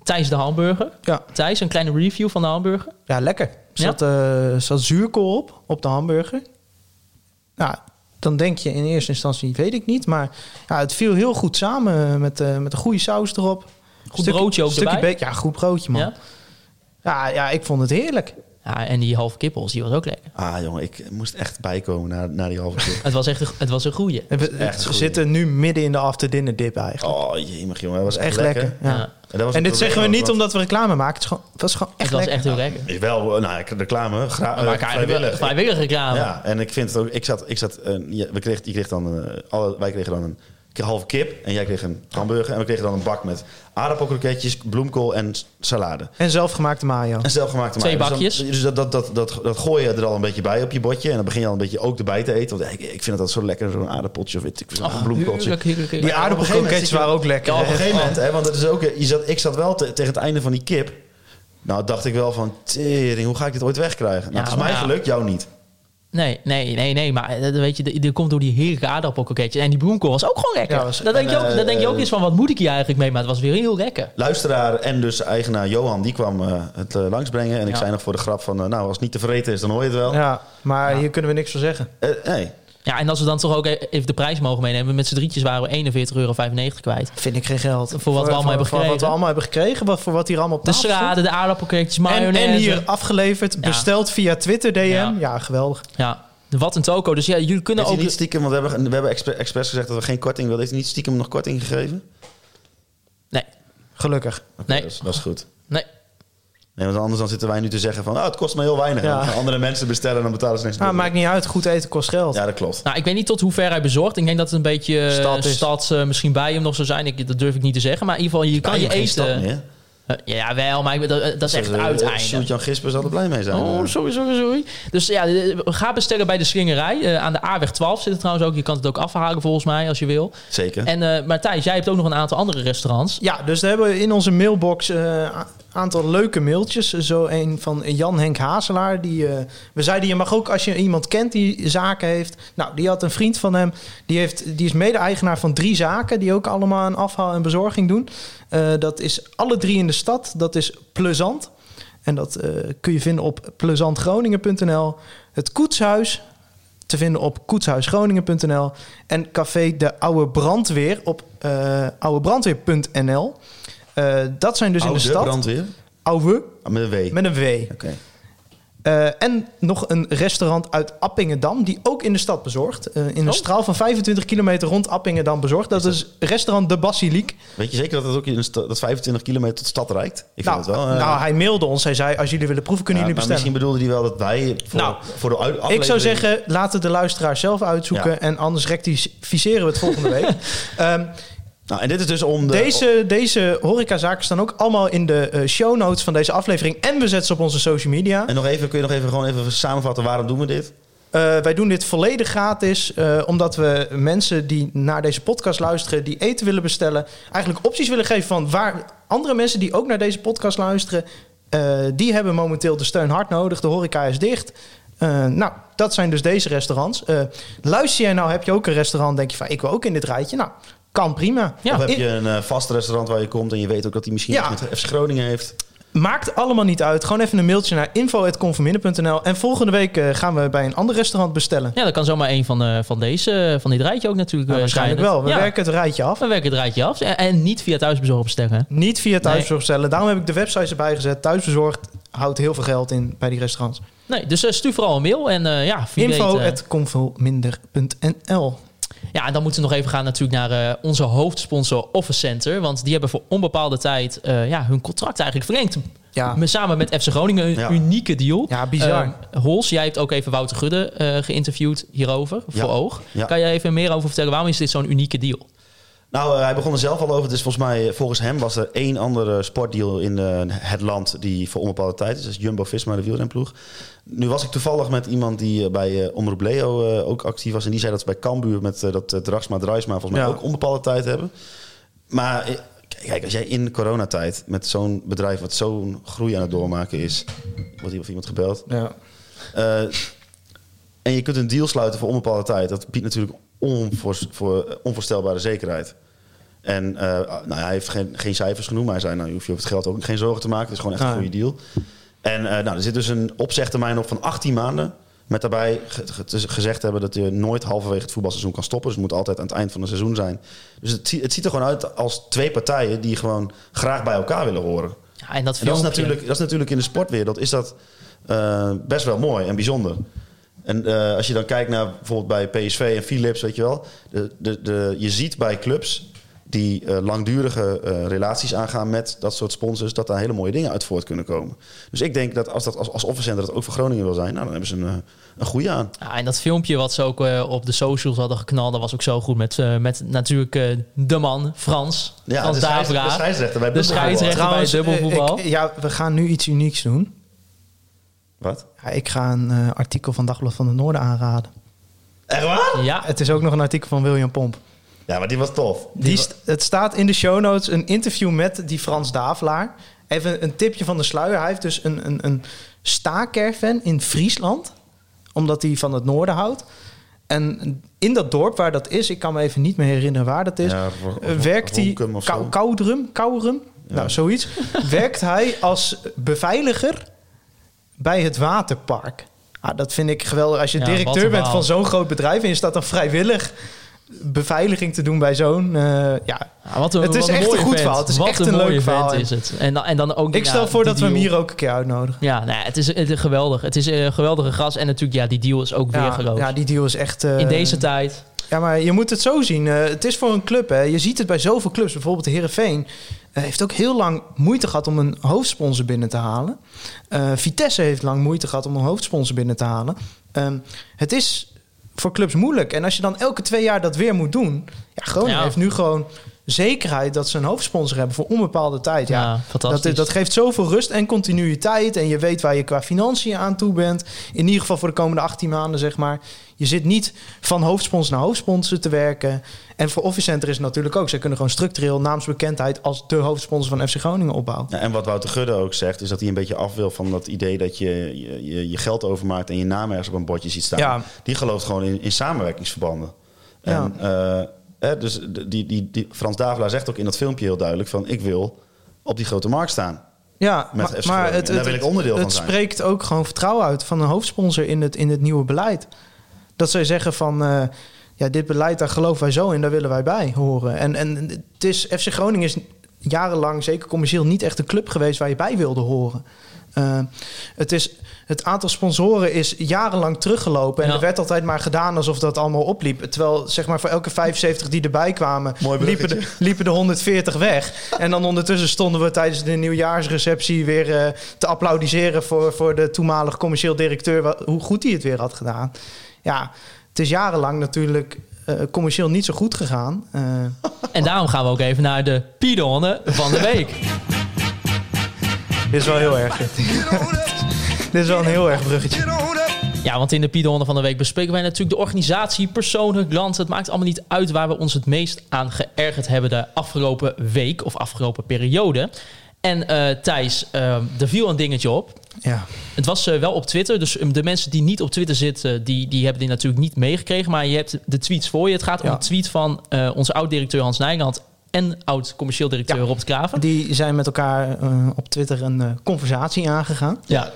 Thijs de hamburger. Ja, Thijs, een kleine review van de hamburger. ja lekker. Er zat, eh, zat zuurkool op, op de hamburger. Nou, dan denk je in eerste instantie, weet ik niet. Maar ja, het viel heel goed samen eh, met, eh, met een goede saus erop. Goed broodje ook stukje erbij. be- Ja, goed broodje, man. Ja? Ja? Ja, ik vond het heerlijk. Ja, en die halve kippels, die was ook lekker. Ah jongen, ik moest echt bijkomen na, na die halve *laughs* keer. Het was echt een, het was een goeie. En We, echt we goed. zitten nu midden in de after dinner dip eigenlijk. Oh jemig jongen, dat was echt, Echt lekker. lekker. Ja. Ja. En, dat was En het dit zeggen we probleem ook, niet want- omdat we reclame maken. Het, is gewoon, het was gewoon echt het was lekker. echt heel lekker. Is wel, eh, nou, ik- reclame, gra- Maar eh, elkaar vrijwillig. vrijwillig reclame. Ja, en ik vind het ook. Ik zat, ik zat. eh, ja, we kreeg, je kreeg dan, eh, alle, wij kregen dan een k- halve kip en jij kreeg een hamburger en we kregen dan een bak met aardappelkroketjes, bloemkool en s- salade. En zelfgemaakte mayo. En zelfgemaakte Twee mayo. Dus dan- bakjes. Dus, dat, dat, dat, dat, dat gooi je er al een beetje bij op je bordje. En dan begin je al een beetje ook erbij te eten. Want ik, ik vind dat zo lekker, zo'n aardappeltje of weet ik, zo'n Ach, bloemkooltje. heerlijk, heerlijk, heerlijk. Die Maar op een gegeven moment aardappelkroketjes zit je- waren ook lekker. Ja, op een hè? Oh. gegeven moment, hè, want dat is ook, eh, je zat, ik zat wel te- tegen het einde van die kip. Nou, dacht ik wel van, tering, hoe ga ik dit ooit wegkrijgen? Nou, Ja, het is mij maar ja. gelukt, jou niet. Nee, nee, nee, nee. Maar eh, weet je, dat- dat komt door die heerlijke aardappelkoketje. En die bloemkool was ook gewoon lekker. Ja, was- dat denk je en, ook, eh, dat denk je ook eens van, wat moet ik hier eigenlijk mee? Maar het was weer heel lekker. Luisteraar en dus eigenaar Johan, die kwam eh, het eh, langsbrengen. En ik Ja. zei nog voor de grap van, eh, nou, als het niet te vreten is, dan hoor je het wel. Ja, maar hier kunnen we niks van zeggen. Eh, Nou, nee. Ja, en als we dan toch ook e- even de prijs mogen meenemen. Met z'n drietjes waren we 41,95 euro kwijt. Vind ik geen geld. Voor wat we allemaal hebben Voor wat we gekregen. allemaal hebben gekregen. Wat, voor wat hier allemaal op De tafel stond. salade, de aardappelkoketjes, En, mayonaise. en hier afgeleverd. Besteld via Twitter DM. Ja. Ja, geweldig. Ja, wat een toko. Dus ja, jullie kunnen Heeft hij ook... niet stiekem, want we hebben, we hebben expre- expres gezegd dat we geen korting wilden. Heeft hij niet stiekem nog korting gegeven? Nee, Gelukkig. Oké, Nee. Dat, is, dat is goed. nee. Nee, want anders dan zitten wij nu te zeggen van, oh, het kost me heel weinig. Ja. En dan gaan andere mensen bestellen en dan betalen ze niks. Nou, maakt niet uit. Goed eten kost geld. Ja, dat klopt. Nou, ik weet niet tot hoe ver hij bezorgt. Ik denk dat het een beetje eh, stad, Stad is. eh, misschien bij hem nog zou zijn. Ik, dat durf ik niet te zeggen. Maar in ieder geval, je kan je Bijna geen eten. stap meer. Eh, ja, wel, maar ik, dat, dat is echt Dus, het eh, uiteinde. Sjoerd-Jan Gisper zal er blij mee zijn. eh, Oh, sorry, sorry, sorry. Dus ja, eh, ga bestellen bij de slingerij. Eh, aan de A-weg 12 zit het trouwens ook. Je kan het ook afhalen volgens mij, als je wil. Zeker. En eh maar Thijs, jij hebt ook nog een aantal andere restaurants. Ja, dus daar hebben we in onze mailbox een aantal leuke mailtjes. Zo een van Jan-Henk Hazelaar. Die, eh, we zeiden, je mag ook als je iemand kent die zaken heeft. Nou, die had een vriend van hem. Die, heeft, die is mede-eigenaar van drie zaken. Die ook allemaal een afhaal en bezorging doen. Eh, dat is alle drie in de stad. Dat is Plezant. En dat eh, kun je vinden op plezantgroningen.nl. Het Koetshuis te vinden op koetshuisgroningen.nl. En café De Oude Brandweer op eh oudebrandweer.nl. Eh, dat zijn dus Oude in de stad. brandweer? Oude Ah, Met een W. met een W. Oké. Eh, en nog een restaurant uit Appingedam, die ook in de stad bezorgt. Eh, in een Oh. straal van 25 kilometer rond Appingedam bezorgt. Dat is, restaurant De Basiliek. Weet je zeker dat het ook in een sta- dat 25 kilometer tot stad reikt? Ik vind Nou, het wel. eh, nou, hij mailde ons. Hij zei, als jullie willen proeven, kunnen ja, nou, jullie maar bestellen. misschien bedoelde hij wel dat wij voor, Nou, voor de uit- aflevering... Ik zou zeggen, laat het de luisteraar zelf uitzoeken. Ja. En anders rectificeren we het volgende week. *laughs* Ehm, Nou, en dit is dus om de... deze, deze horecazaken staan ook allemaal in de eh, show notes van deze aflevering. En we zetten ze op onze social media. En nog even, kun je nog even gewoon even samenvatten waarom doen we dit? Eh, wij doen dit volledig gratis, eh, omdat we mensen die naar deze podcast luisteren, die eten willen bestellen, eigenlijk opties willen geven van waar andere mensen die ook naar deze podcast luisteren, eh, die hebben momenteel de steun hard nodig. De horeca is dicht. Eh, nou, dat zijn dus deze restaurants. Eh, luister jij nou, heb je ook een restaurant, denk je van ik wil ook in dit rijtje? Nou, kan prima. Ja. of heb in- je een eh, vast restaurant waar je komt en je weet ook dat hij misschien Ja. iets met FC Groningen heeft? Maakt allemaal niet uit. Gewoon even een mailtje naar info.conforminder.nl. En volgende week eh, gaan we bij een ander restaurant bestellen. Ja, dat kan zomaar een van, eh, van deze, van dit rijtje ook natuurlijk. Nou, eh, waarschijnlijk zijn het. wel. We ja, werken het rijtje af. we werken het rijtje af. En, en niet via thuisbezorg bestellen. Niet via thuisbezorg bestellen. Daarom heb ik de websites erbij gezet. Thuisbezorgd houdt heel veel geld in bij die restaurants. eh. Nee, dus eh, stuur vooral een mail. En eh ja, wie weet, eh, Info.conforminder.nl Ja, en dan moeten we nog even gaan natuurlijk naar eh, onze hoofdsponsor Office Center. Want die hebben voor onbepaalde tijd eh, ja, hun contract eigenlijk verlengd. Ja. Me- Samen met FC Groningen, een Ja. unieke deal. Ja, bizar. Eh, Hols, jij hebt ook even Wouter Gudde eh, geïnterviewd hierover, voor oog. Ja. Kan jij even meer over vertellen? Waarom is dit zo'n unieke deal? Nou, eh, hij begon er zelf al over. Dus volgens mij, eh, volgens hem was er één andere sportdeal in eh, het land die voor onbepaalde tijd is. Dat is Jumbo-Visma, de wielrenploeg. Nu was ik toevallig met iemand die eh, bij eh, Omroep Leo eh, ook actief was. En die zei dat ze bij Cambuur met eh, dat eh, Draxma, Drijsma volgens mij Ja. ook onbepaalde tijd hebben. Maar eh, kijk, als jij in coronatijd met zo'n bedrijf wat zo'n groei aan het doormaken is... Wordt hier of iemand gebeld? Ja. Eh, en je kunt een deal sluiten voor onbepaalde tijd. Dat biedt natuurlijk onvoors, voor, eh, onvoorstelbare zekerheid. En eh, nou, ja, hij heeft geen, geen cijfers genoemd, maar hij zei: nou, je hoeft je over het geld ook geen zorgen te maken. Het is gewoon echt een Ah. goede deal. En eh, nou, er zit dus een opzegtermijn op van 18 maanden. Met daarbij ge- ge- te- gezegd hebben dat je nooit halverwege het voetbalseizoen kan stoppen. Dus het moet altijd aan het eind van het seizoen zijn. Dus het, zie- het ziet er gewoon uit als twee partijen die gewoon graag bij elkaar willen horen. Ja, en dat, En dat, is filmpje- natuurlijk, dat is natuurlijk in de sportwereld is dat, eh, best wel mooi en bijzonder. En eh, als je dan kijkt naar bijvoorbeeld bij PSV en Philips, weet je wel. De, de, de, je ziet bij clubs die eh, langdurige eh, relaties aangaan met dat soort sponsors... dat daar hele mooie dingen uit voort kunnen komen. Dus ik denk dat als, dat, als, als offercenter dat ook voor Groningen wil zijn... Nou, dan hebben ze een, eh, een goede aan. Ja, en dat filmpje wat ze ook eh, op de socials hadden geknald, dat was ook zo goed met, eh, met natuurlijk eh, de man, Frans. Ja, Frans de scheids- Davra. de scheidsrechter bij De dubbelvoetbal. scheidsrechter Trouwens, bij eh, dubbelvoetbal. ik- ja, we gaan nu iets unieks doen. Wat? Ja, ik ga een eh, artikel van Dagblad van het Noorden aanraden. Echt waar? ja, Het is ook nog een artikel van William Pomp. Ja, maar die was tof. Die st- het staat in de show notes een interview met die Frans Davelaar. Even een tipje van de sluier. Hij heeft dus een, een, een staakerven in Friesland. Omdat hij van het noorden houdt. En in dat dorp waar dat is, ik kan me even niet meer herinneren waar dat is. Ja, Ro- eh, werkt hij. Ronkum of zo. Kou- Koudrum? Kourum? Nou, zoiets. werkt hij als beveiliger bij het waterpark. Ah, dat vind ik geweldig. Als je Ja, wat directeur een bent verhaal. van zo'n groot bedrijf en je staat dan vrijwillig beveiliging te doen bij zo'n. eh, ja. Ja, Ah, wat een, Het is wat een echt mooie een goed vent. verhaal. Het is wat echt een, een mooie leuk verhaal. vent is het. En, dan- en dan ook, Ik ja, stel voor die dat we hem deal. hier ook een keer uitnodigen. Ja, nou, ja, het, is, het is geweldig. Het is eh, een geweldige gast. En natuurlijk, ja, die deal is ook weer Ja, groot. ja, die deal is echt. eh, In deze tijd. Ja, maar je moet het zo zien. Eh, het is voor een club. Hè. Je ziet het bij zoveel clubs. Bijvoorbeeld de Herenveen heeft ook heel lang moeite gehad om een hoofdsponsor binnen te halen. Eh, Vitesse heeft lang moeite gehad om een hoofdsponsor binnen te halen. Ehm, het is voor clubs moeilijk. En als je dan elke twee jaar dat weer moet doen. Ja, Groningen Ja. heeft nu gewoon zekerheid dat ze een hoofdsponsor hebben voor onbepaalde tijd. Ja, Ja, fantastisch. Dat, dat geeft zoveel rust en continuïteit. En je weet waar je qua financiën aan toe bent. In ieder geval voor de komende 18 maanden, zeg maar. Je zit niet van hoofdsponsor naar hoofdsponsor te werken. En voor Office Center is het natuurlijk ook. Zij kunnen gewoon structureel naamsbekendheid als de hoofdsponsor van FC Groningen opbouwen. Ja, en wat Wouter Gudde ook zegt, is dat hij een beetje af wil van dat idee dat je je, je, je geld overmaakt en je naam ergens op een bordje ziet staan. Ja. Die gelooft gewoon in, in samenwerkingsverbanden. Ja. En, eh, hè, dus de- die, die, die, Frans Davelaar zegt ook in dat filmpje heel duidelijk van ik wil op die grote markt staan. Ja, Met maar, FC maar Groningen. het, Daar het, wil ik onderdeel het van zijn. spreekt ook gewoon vertrouwen uit van een hoofdsponsor in het, in het nieuwe beleid. Dat zij zeggen van, eh, ja, dit beleid, daar geloven wij zo in, daar willen wij bij horen. En, en het is, FC Groningen is jarenlang, zeker commercieel, niet echt een club geweest waar je bij wilde horen. Eh, het, is, het aantal sponsoren is jarenlang teruggelopen. En Ja. er werd altijd maar gedaan alsof dat allemaal opliep. Terwijl zeg maar, voor elke 75 die erbij kwamen, Mooi liepen de, liepen de 140 weg. En dan ondertussen stonden we tijdens de nieuwjaarsreceptie weer eh, te applaudisseren voor, voor de toenmalig commercieel directeur. wa- hoe goed hij het weer had gedaan. Ja, het is jarenlang natuurlijk eh, commercieel niet zo goed gegaan. Eh, En daarom gaan we ook even naar de Pidonne van de week. *laughs* *laughs* dit is wel heel erg. *laughs* dit is wel een heel erg bruggetje. Ja, want in de Piedehonden van de Week bespreken wij natuurlijk de organisatie, personen, klanten. Het maakt allemaal niet uit waar we ons het meest aan geërgerd hebben de afgelopen week of afgelopen periode. En eh, Thijs, eh, er viel een dingetje op. Ja. Het was eh, wel op Twitter, dus eh, de mensen die niet op Twitter zitten, eh, die, die hebben dit natuurlijk niet meegekregen. Maar je hebt de tweets voor je. Het gaat om Ja. een tweet van eh, onze oud-directeur Hans Nijland en oud-commercieel directeur Ja. Rob de Kraven. Die zijn met elkaar eh, op Twitter een eh, conversatie aangegaan. Ja,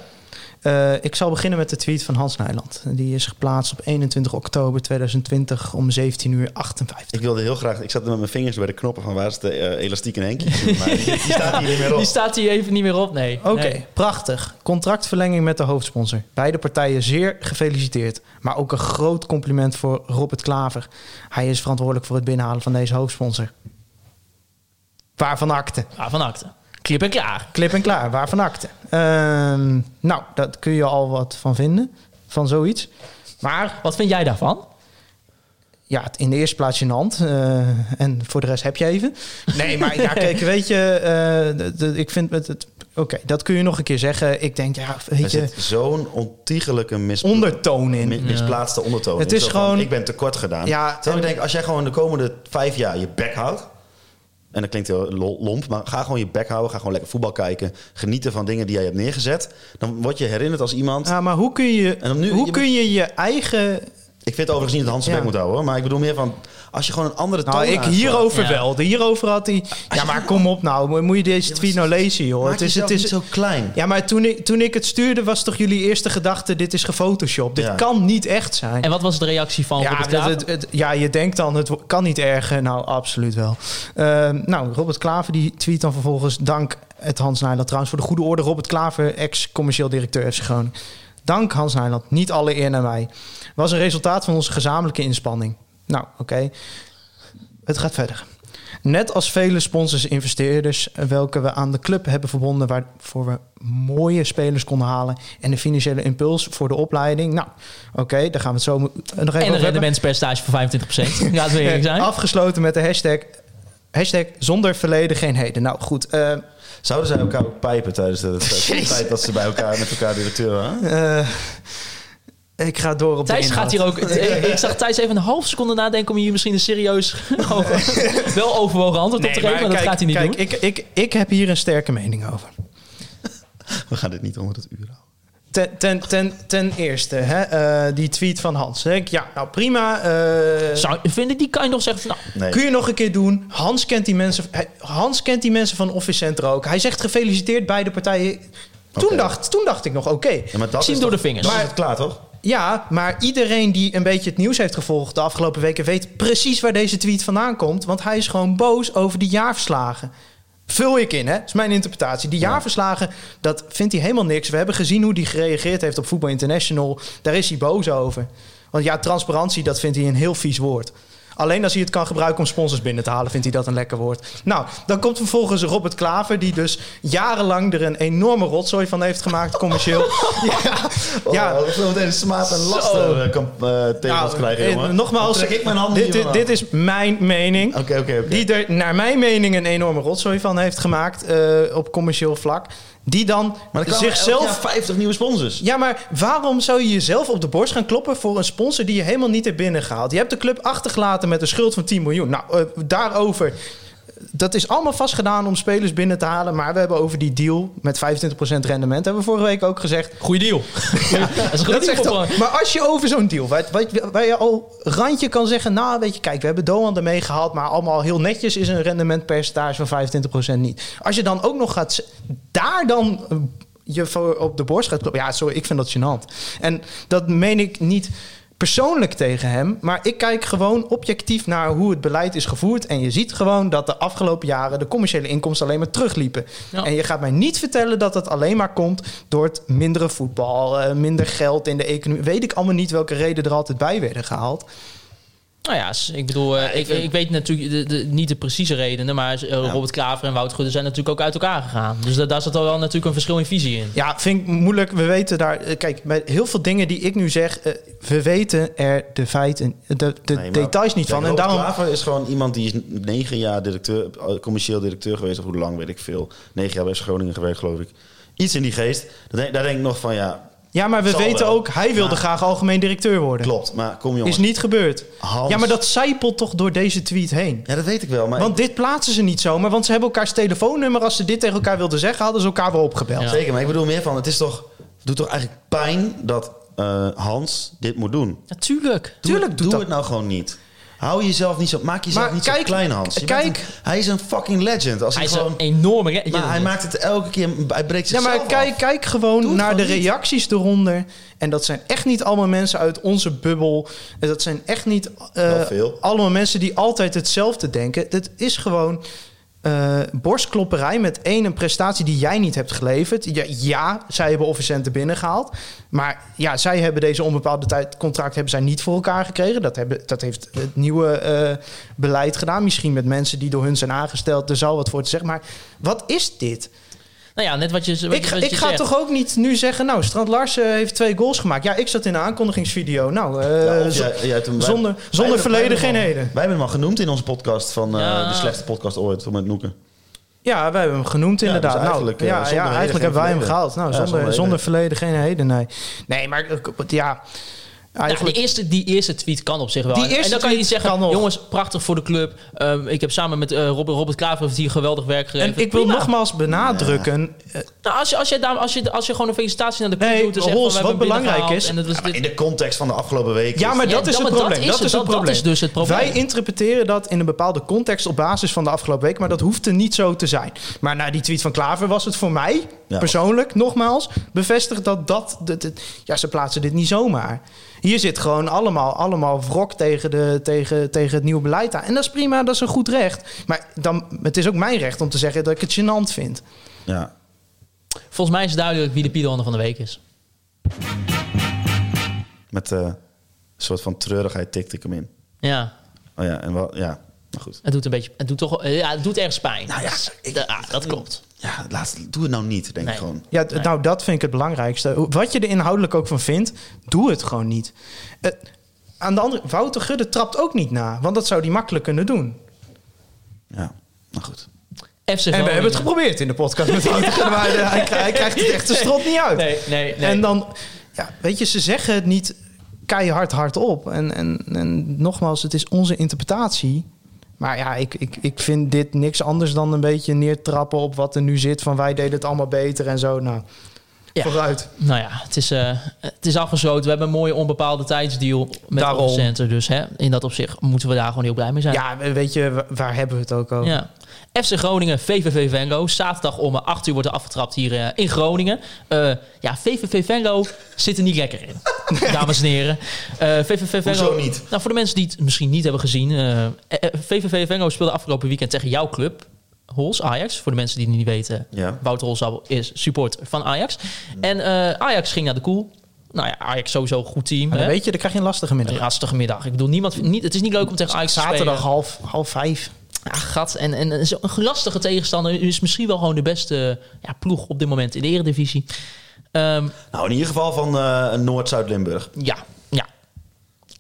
Eh, ik zal beginnen met de tweet van Hans Nijland. Die is geplaatst op 21 oktober 2020 om 17 uur 58. Ik wilde heel graag... Ik zat met mijn vingers bij de knoppen van waar is de eh, elastiek in *laughs* Henkie? Maar die, die staat hier niet meer op. Die staat hier even niet meer op, nee. Oké, Nee. prachtig. Contractverlenging met de hoofdsponsor. Beide partijen zeer gefeliciteerd. Maar ook een groot compliment voor Robert Klaver. Hij is verantwoordelijk voor het binnenhalen van deze hoofdsponsor. Waarvan akte? Ah, van akte. Klip en klaar. Klip en klaar, waarvan akte? Ehm, nou, daar kun je al wat van vinden, van zoiets. Maar Wat vind jij daarvan? ja, het- in de eerste plaats gênant. eh en voor de rest heb je even. Nee, maar ja, kijk, weet je, eh, de- de- ik vind het... het- Oké, dat kun je nog een keer zeggen. Ik denk, ja, Er weet je, zit zo'n ontiegelijke mis... ondertoon in. mi- misplaatste ondertoon. Het in. is Zo van, gewoon- Ik ben tekort gedaan. Ja, Terwijl ik denk, als jij gewoon de komende vijf jaar je bek houdt... En dat klinkt heel lo- lomp, maar ga gewoon je bek houden. Ga gewoon lekker voetbal kijken. Genieten van dingen die jij hebt neergezet. Dan word je herinnerd als iemand... Ja, maar hoe kun je En dan nu- hoe je- kun je, je eigen... Ik vind overigens niet dat Hans zijn Ja. bek moet houden, hoor. Maar ik bedoel meer van... Als je gewoon een andere toon Nou, ik aanslaat. hierover Ja. wel. De hierover had hij... Ja, maar *laughs* kom op nou. mo- Moet je deze tweet nou lezen, joh. Maak Het is, het jezelf is, niet zo klein. ja, maar toen ik, toen ik het stuurde, was toch jullie eerste gedachte... dit is gefotoshopt. Dit Ja. kan niet echt zijn. En wat was de reactie van ja, Robert dat Klaver? het, het- ja, je denkt dan, het wo- kan niet erger. Nou, absoluut wel. Ehm, nou, Robert Klaver die tweet dan vervolgens... Dank het Hans Nijland trouwens voor de goede orde. Robert Klaver, ex-commercieel directeur FC Groningen. Dank Hans Nijland, niet alle eer naar mij. Was een resultaat van onze gezamenlijke inspanning. Nou, oké. Het gaat verder. Net als vele sponsors en investeerders, welke we aan de club hebben verbonden, waarvoor we mooie spelers konden halen en de financiële impuls voor de opleiding. Nou, oké, daar gaan we het zo mo- nog even over En een hebben. rendementspercentage van *laughs* 25%. Laten we eerlijk zijn. Eh, Afgesloten met de hashtag, hashtag zonder verleden geen heden. Nou goed, eh, Zouden zij elkaar ook pijpen tijdens de, *laughs* de tijd dat ze bij elkaar met elkaar directeur waren? eh, ik ga door op Thijs de gaat hier inhoud. ook... Ik, ik zag Thijs even een half seconde nadenken om hier misschien een *laughs* serieus... *laughs* over- wel overwogen antwoord op te geven, maar, dat kijk, gaat hij niet kijk, doen. Ik, ik, ik heb hier een sterke mening over. We gaan dit niet onder het uur houden. Ten, ten, ten, ten eerste, hè, eh, die tweet van Hans. Hè? Ja, nou prima. eh, Zou, vind ik, die kan je nog zeggen van... Nou, Nee. Kun je nog een keer doen? Hans kent die mensen, hij- Hans kent die mensen van Office Center ook. Hij zegt gefeliciteerd beide partijen. Toen, Oké. dacht, toen dacht ik nog, oké. Ja, maar dat ik zie hem is door de toch- vingers. Dat is het klaar, toch? Ja, maar iedereen die een beetje het nieuws heeft gevolgd de afgelopen weken... weet precies waar deze tweet vandaan komt. Want hij is gewoon boos over die jaarverslagen. Vul ik in, hè? Dat is mijn interpretatie. Die jaarverslagen, dat vindt hij helemaal niks. We hebben gezien hoe hij gereageerd heeft op Voetbal International. Daar is hij boos over. Want ja, transparantie, dat vindt hij een heel vies woord. Alleen als hij het kan gebruiken om sponsors binnen te halen, vindt hij dat een lekker woord. Nou, dan komt vervolgens Robert Klaver, die dus jarenlang er een enorme rotzooi van heeft gemaakt, commercieel. ja, ja, Oh, we zullen meteen een smaad en laster eh, kamp, eh, tegen ons krijgen, eh, jongen. Nogmaals, Dan trek ik mijn handen dit, dit, dit is mijn mening. Oké, oké, oké. Die er naar mijn mening een enorme rotzooi van heeft gemaakt eh, op commercieel vlak. Die dan Maar er kwamen zichzelf... zichzelf... elk jaar 50 nieuwe sponsors. Ja, maar waarom zou je jezelf op de borst gaan kloppen voor een sponsor die je helemaal niet hebt binnengehaald? Je hebt de club achtergelaten met een schuld van 10 miljoen. Nou, eh, daarover. Dat is allemaal vastgedaan om spelers binnen te halen. Maar we hebben over die deal met 25% rendement. Hebben we vorige week ook gezegd. Goeie deal. *laughs* dat is een goed Dat deal zegt voor- al- maar als je over zo'n deal, waar, waar, waar je al randje kan zeggen, nou weet je, kijk, we hebben Doan ermee gehaald, maar allemaal heel netjes is een rendementpercentage van 25% niet. Als je dan ook nog gaat, z- daar dan eh, je voor op de borst gaat kloppen, ja, sorry, ik vind dat gênant. En dat meen ik niet persoonlijk tegen hem, maar ik kijk gewoon objectief naar hoe het beleid is gevoerd en je ziet gewoon dat de afgelopen jaren de commerciële inkomsten alleen maar terugliepen. Ja. En je gaat mij niet vertellen dat dat alleen maar komt door het mindere voetbal, eh, minder geld in de economie. Weet ik allemaal niet welke reden er altijd bij werden gehaald. Nou ja, s- ik bedoel, eh, ik, ik weet natuurlijk de, de- niet de precieze redenen, maar eh, Robert Klaver en Wout Gudde zijn natuurlijk ook uit elkaar gegaan. Dus da- daar zat al wel natuurlijk een verschil in visie in. Ja, vind ik moeilijk. We weten daar. eh, Kijk, met heel veel dingen die ik nu zeg, eh, we weten er de feiten, de, de Nee, maar- details niet van. Kijk, En Robert daarom. Klaver is gewoon iemand die is negen jaar directeur, eh, commercieel directeur geweest, of hoe lang weet ik veel. Negen jaar bij FC Groningen gewerkt, geloof ik. Iets in die geest. Daar denk, daar denk ik nog van, ja, Ja, maar we Zal weten wel. ook, hij wilde Maar- graag algemeen directeur worden. klopt. Maar kom jongens. Is niet gebeurd. Hans. Ja, maar dat zijpelt toch door deze tweet heen. Ja, dat weet ik wel. Maar Want dit plaatsen ze niet zomaar, want ze hebben elkaars telefoonnummer. Als ze dit tegen elkaar wilden zeggen, hadden ze elkaar wel opgebeld. Ja. Zeker, maar ik bedoel meer van, het is toch, het doet toch eigenlijk pijn dat eh, Hans dit moet doen. Natuurlijk. Doe, Tuurlijk doet doe dat- het nou gewoon niet. Hou jezelf niet zo, maak jezelf Maar niet zo kijk- klein, Hans. Je bent kijk- een- hij is een fucking legend. Als hij, Hij is gewoon, een enorme... re- maar hij maakt het elke keer, hij breekt Ja, zichzelf maar kijk, af. kijk gewoon Doe het naar de gewoon niet. reacties eronder. En dat zijn echt niet allemaal mensen uit onze bubbel. En dat zijn echt niet eh, veel. allemaal mensen die altijd hetzelfde denken. Dit is gewoon eh, borstklopperij met één een prestatie die jij niet hebt geleverd. Ja, ja zij hebben officiënten binnengehaald. Maar ja, zij hebben deze onbepaalde tijd contract hebben zij niet voor elkaar gekregen. Dat, hebben, dat heeft het nieuwe eh, beleid gedaan. Misschien met mensen die door hun zijn aangesteld. Er zal wat voor te zeggen. Maar wat is dit? Nou ja, net wat je, wat ik, je- ga- wat ik je ga zegt. toch ook niet nu zeggen, nou, Strand Larsen heeft twee goals gemaakt. Ja, ik zat in de aankondigingsvideo. Nou, eh, Ja, of zo- jij- jij hebt hem- zonder, wij- wij hebben- zonder wij hebben hem al- verledenheden. Wij hebben hem al genoemd in onze podcast van eh, Ja. de slechtste podcast ooit, met Noeken. Ja, wij hebben hem genoemd inderdaad. dus eigenlijk, nou, eh, ja, zonder ja, heden eigenlijk geen hebben wij hem verleden. gehaald. Nou, Ja, zonder, zonder zonder, heden. verleden geen heden, nee. Nee, maar eh, ja, Ja, die, eigenlijk... Nou, eerste, die eerste tweet kan op zich wel. Die En- en eerste dan kan je niet tweet zeggen, kan nog. jongens, prachtig voor de club. Ehm, ik heb samen met eh, Robert, Robert Klaver heeft hier geweldig werk en geleverd. ik wil Prima. nogmaals benadrukken... eh, Nou, als, je, als, je daar, als, je, als je gewoon een felicitatie naar de club Nee, doet... en zegt van, Hols, we hebben wat hem belangrijk binnengehaald is- En het was dit- In de context van de afgelopen weken. Ja, maar Ja, dat dat- is het maar dat probleem. is Dat het. is het Dat- dat probleem. is dus het probleem. Wij interpreteren dat in een bepaalde context op basis van de afgelopen week, maar dat hoeft er niet zo te zijn. Maar na die tweet van Klaver was het voor mij, Ja. persoonlijk, nogmaals, bevestigd dat dat, dat- dat- Ja, ze plaatsen dit niet zomaar. Hier zit gewoon allemaal, allemaal wrok tegen, de, tegen, tegen het nieuwe beleid aan. En dat is prima, dat is een goed recht. Maar dan, het is ook mijn recht om te zeggen dat ik het gênant vind. Ja. Volgens mij is het duidelijk wie de Piedelhonder van de week is. Met eh, een soort van treurigheid tikte ik hem in. Ja, Oh ja, en wel, ja. Maar goed. het doet een beetje... Het doet, toch, eh, ja, het doet ergens pijn. Nou ja, ik- Da- ah, dat klopt. Ja, laat, doe het nou niet, denk Nee. ik gewoon. Ja, d- nou, dat vind ik het belangrijkste. Hoe- Wat je er inhoudelijk ook van vindt, doe het gewoon niet. Eh, aan de andere, Wouter Gudde trapt ook niet na, want dat zou hij makkelijk kunnen doen. Ja, maar goed. FC En we Groningen. hebben het geprobeerd in de podcast met Wouter Gudde, maar de- hij, hij krijgt het echt de strot niet uit. Nee, nee, nee. En dan, ja, weet je, ze zeggen het niet keihard hardop. En, en, en nogmaals, het is onze interpretatie. Maar ja, ik, ik, ik vind dit niks anders dan een beetje neertrappen op wat er nu zit. Van wij deden het allemaal beter en zo. Nou, Ja. vooruit. Nou ja, het is, eh, het is afgesloten. We hebben een mooie onbepaalde tijdsdeal met Daarom. de center. Dus hè, in dat opzicht moeten we daar gewoon heel blij mee zijn. Ja, weet je, wa- waar hebben we het ook over? Ja. FC Groningen, VVV Venlo. Zaterdag om eh, 8 uur wordt er afgetrapt hier eh, in Groningen. Eh, ja, VVV Venlo zit er niet lekker in, dames en heren. Eh, VVV Venlo, Hoezo niet? Nou, voor de mensen die het misschien niet hebben gezien. eh, eh, VVV Venlo speelde afgelopen weekend tegen jouw club. Hols, Ajax. Voor de mensen die het niet weten. Ja. Wouter Holzappel is supporter van Ajax. En eh, Ajax ging naar de koel. Nou ja, Ajax sowieso een goed team. Maar hè. dan weet je, dan krijg je een lastige middag. Een lastige middag. Ik bedoel, niemand, niet, het is niet leuk om tegen Ajax te spelen. Zaterdag half, half vijf. Ja, gat. En, en zo'n lastige tegenstander is misschien wel gewoon de beste ja, ploeg op dit moment in de Eredivisie. Ehm, Nou, in ieder geval van eh, Noord-Zuid-Limburg. ja, ja.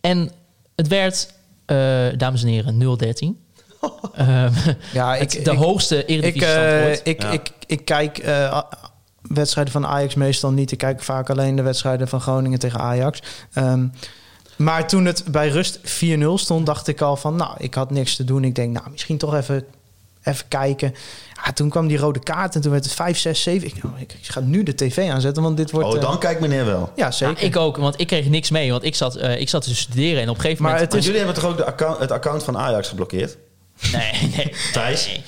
En het werd, eh, dames en heren, *laughs* 0-13. Ehm, Ja, het- ik, de ik, hoogste ik, eredivisie eh, standwoord. ik, ik, Ja. ik, kijk eh, a- wedstrijden van Ajax meestal niet. Ik kijk vaak alleen de wedstrijden van Groningen tegen Ajax. Ehm, maar toen het bij rust 4-0 stond, dacht ik al van... nou, ik had niks te doen. Ik denk, nou, misschien toch even, even kijken. Ja, toen kwam die rode kaart en toen werd het 5, 6, 7. Ik, nou, ik ga nu de tv aanzetten, want dit wordt... Oh, eh, dan kijkt meneer wel. ja, zeker. Nou, ik ook, want ik kreeg niks mee. Want ik zat, eh, ik zat te studeren en op een gegeven Maar moment... Maar jullie hebben toch ook de account, het account van Ajax geblokkeerd? Nee, *laughs* nee. Thijs? Nee.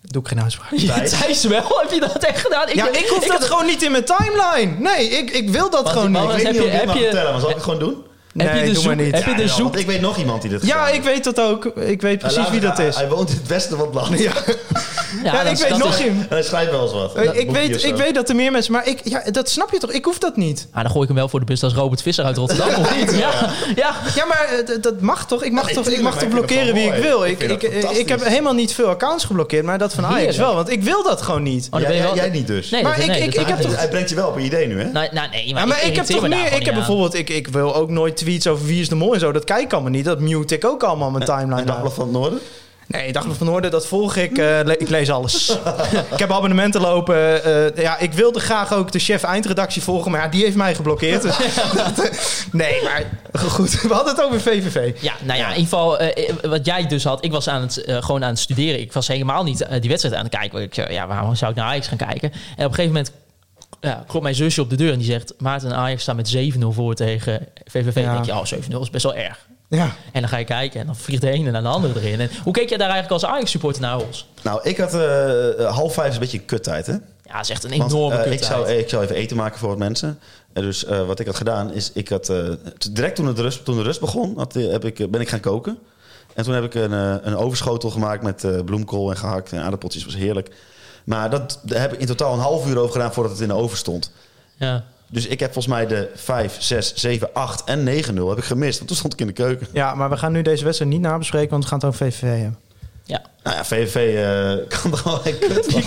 Doe ik geen uitspraak. *laughs* Thijs? Thijs wel? Heb je dat echt gedaan? Ja, ik hoef dat had- gewoon niet in mijn timeline. Nee, ik, ik wil dat Want gewoon die niet. mannen- ik weet heb niet je- of ik dit heb mag je- vertellen, maar zal ik het gewoon doen? Nee, heb je de doe maar zoek- niet. heb je de Ja, zoek- want ik weet nog iemand die dit Ja, gedaan ik heeft. weet dat ook. Ik weet Hij precies wie dat luistert- is. hij- Hij woont in het westen van het land. *laughs* Ja, Ja, Ja, dat ik is- weet dat nog is- hem. En hij schrijft wel eens wat. Ik, Boekje ik, of weet, zo. ik weet dat er meer mensen... Maar ik, ja, dat snap je toch? Ik hoef dat niet. Ah, dan gooi ik hem wel voor de bus. Dat is Robert Visser uit Rotterdam, of *laughs* niet? Ja, ja. Ja, maar eh, d- dat mag toch? Ik mag Nee, toch, ik tuurlijk, mag maar toch ik vind blokkeren het wie ik wel wil? mooi. Ik, Ik ik, vind dat ik, ik heb fantastisch. helemaal niet veel accounts geblokkeerd. Maar dat van Ajax Heerlijk. wel. Want ik wil dat gewoon niet. Oh, dan Jij- ben je jij- wel- jij niet dus. Nee, Maar dat- ik- nee, ik- dat ik raakt heb niet. Hij brengt je wel op een idee nu, hè? Nou, nou, nee, maar, Ja, maar ik, heb irriteer toch me daar gewoon meer. Ik heb niet aan. bijvoorbeeld. Ik, ik wil ook nooit tweets over wie is de mooi en zo. Dat kijk ik allemaal niet. Dat mute ik ook allemaal mijn timeline. En uit. Dagblad van het Noorden? Nee, Dagblad van Noorden, dat volg ik. eh, le- ik lees alles. *laughs* ik heb abonnementen lopen. eh, ja, ik wilde graag ook de chef eindredactie volgen, maar ja, die heeft *laughs* mij geblokkeerd. *laughs* Dus dat, eh, nee, maar goed, we hadden het over VVV. Ja, nou ja, in ieder geval eh, eh, wat jij dus had. Ik was aan het, eh, gewoon aan het studeren. Ik was helemaal niet eh, die wedstrijd aan het kijken. Ik zei, ja, waarom zou ik naar Ajax gaan kijken? En op een gegeven moment ja, klopt mijn zusje op de deur en die zegt... Maarten en Ajax staan met 7-0 voor tegen VVV. Ja. Dan denk je, oh, 7-0 is best wel erg. Ja. En dan ga je kijken en dan vliegt de ene en de andere erin. En hoe keek jij daar eigenlijk als Ajax-supporter naar, Hols? Nou, ik had eh, half vijf is een beetje een kuttijd, hè? Ja, dat is echt een Want, enorme eh, ik, kuttijd. zou, ik zou even eten maken voor wat mensen. En dus eh, wat ik had gedaan is, ik had eh, t- direct toen, het rust, toen de rust begon, had, eh, heb ik, eh, ben ik gaan koken. En toen heb ik een, eh, een overschotel gemaakt met eh, bloemkool en gehakt en aardappeltjes. was heerlijk. Maar dat, daar heb ik in totaal een half uur over gedaan voordat het in de oven stond. e- Ja. Dus ik heb volgens mij de 5, 6, 7, 8 en 9-0 heb ik gemist. Want toen stond ik in de keuken. Ja, maar we gaan nu deze wedstrijd niet nabespreken, want we gaan het over VVV hebben. ja. *laughs* Nou ja, VVV eh, *laughs* kan er wel een kut van.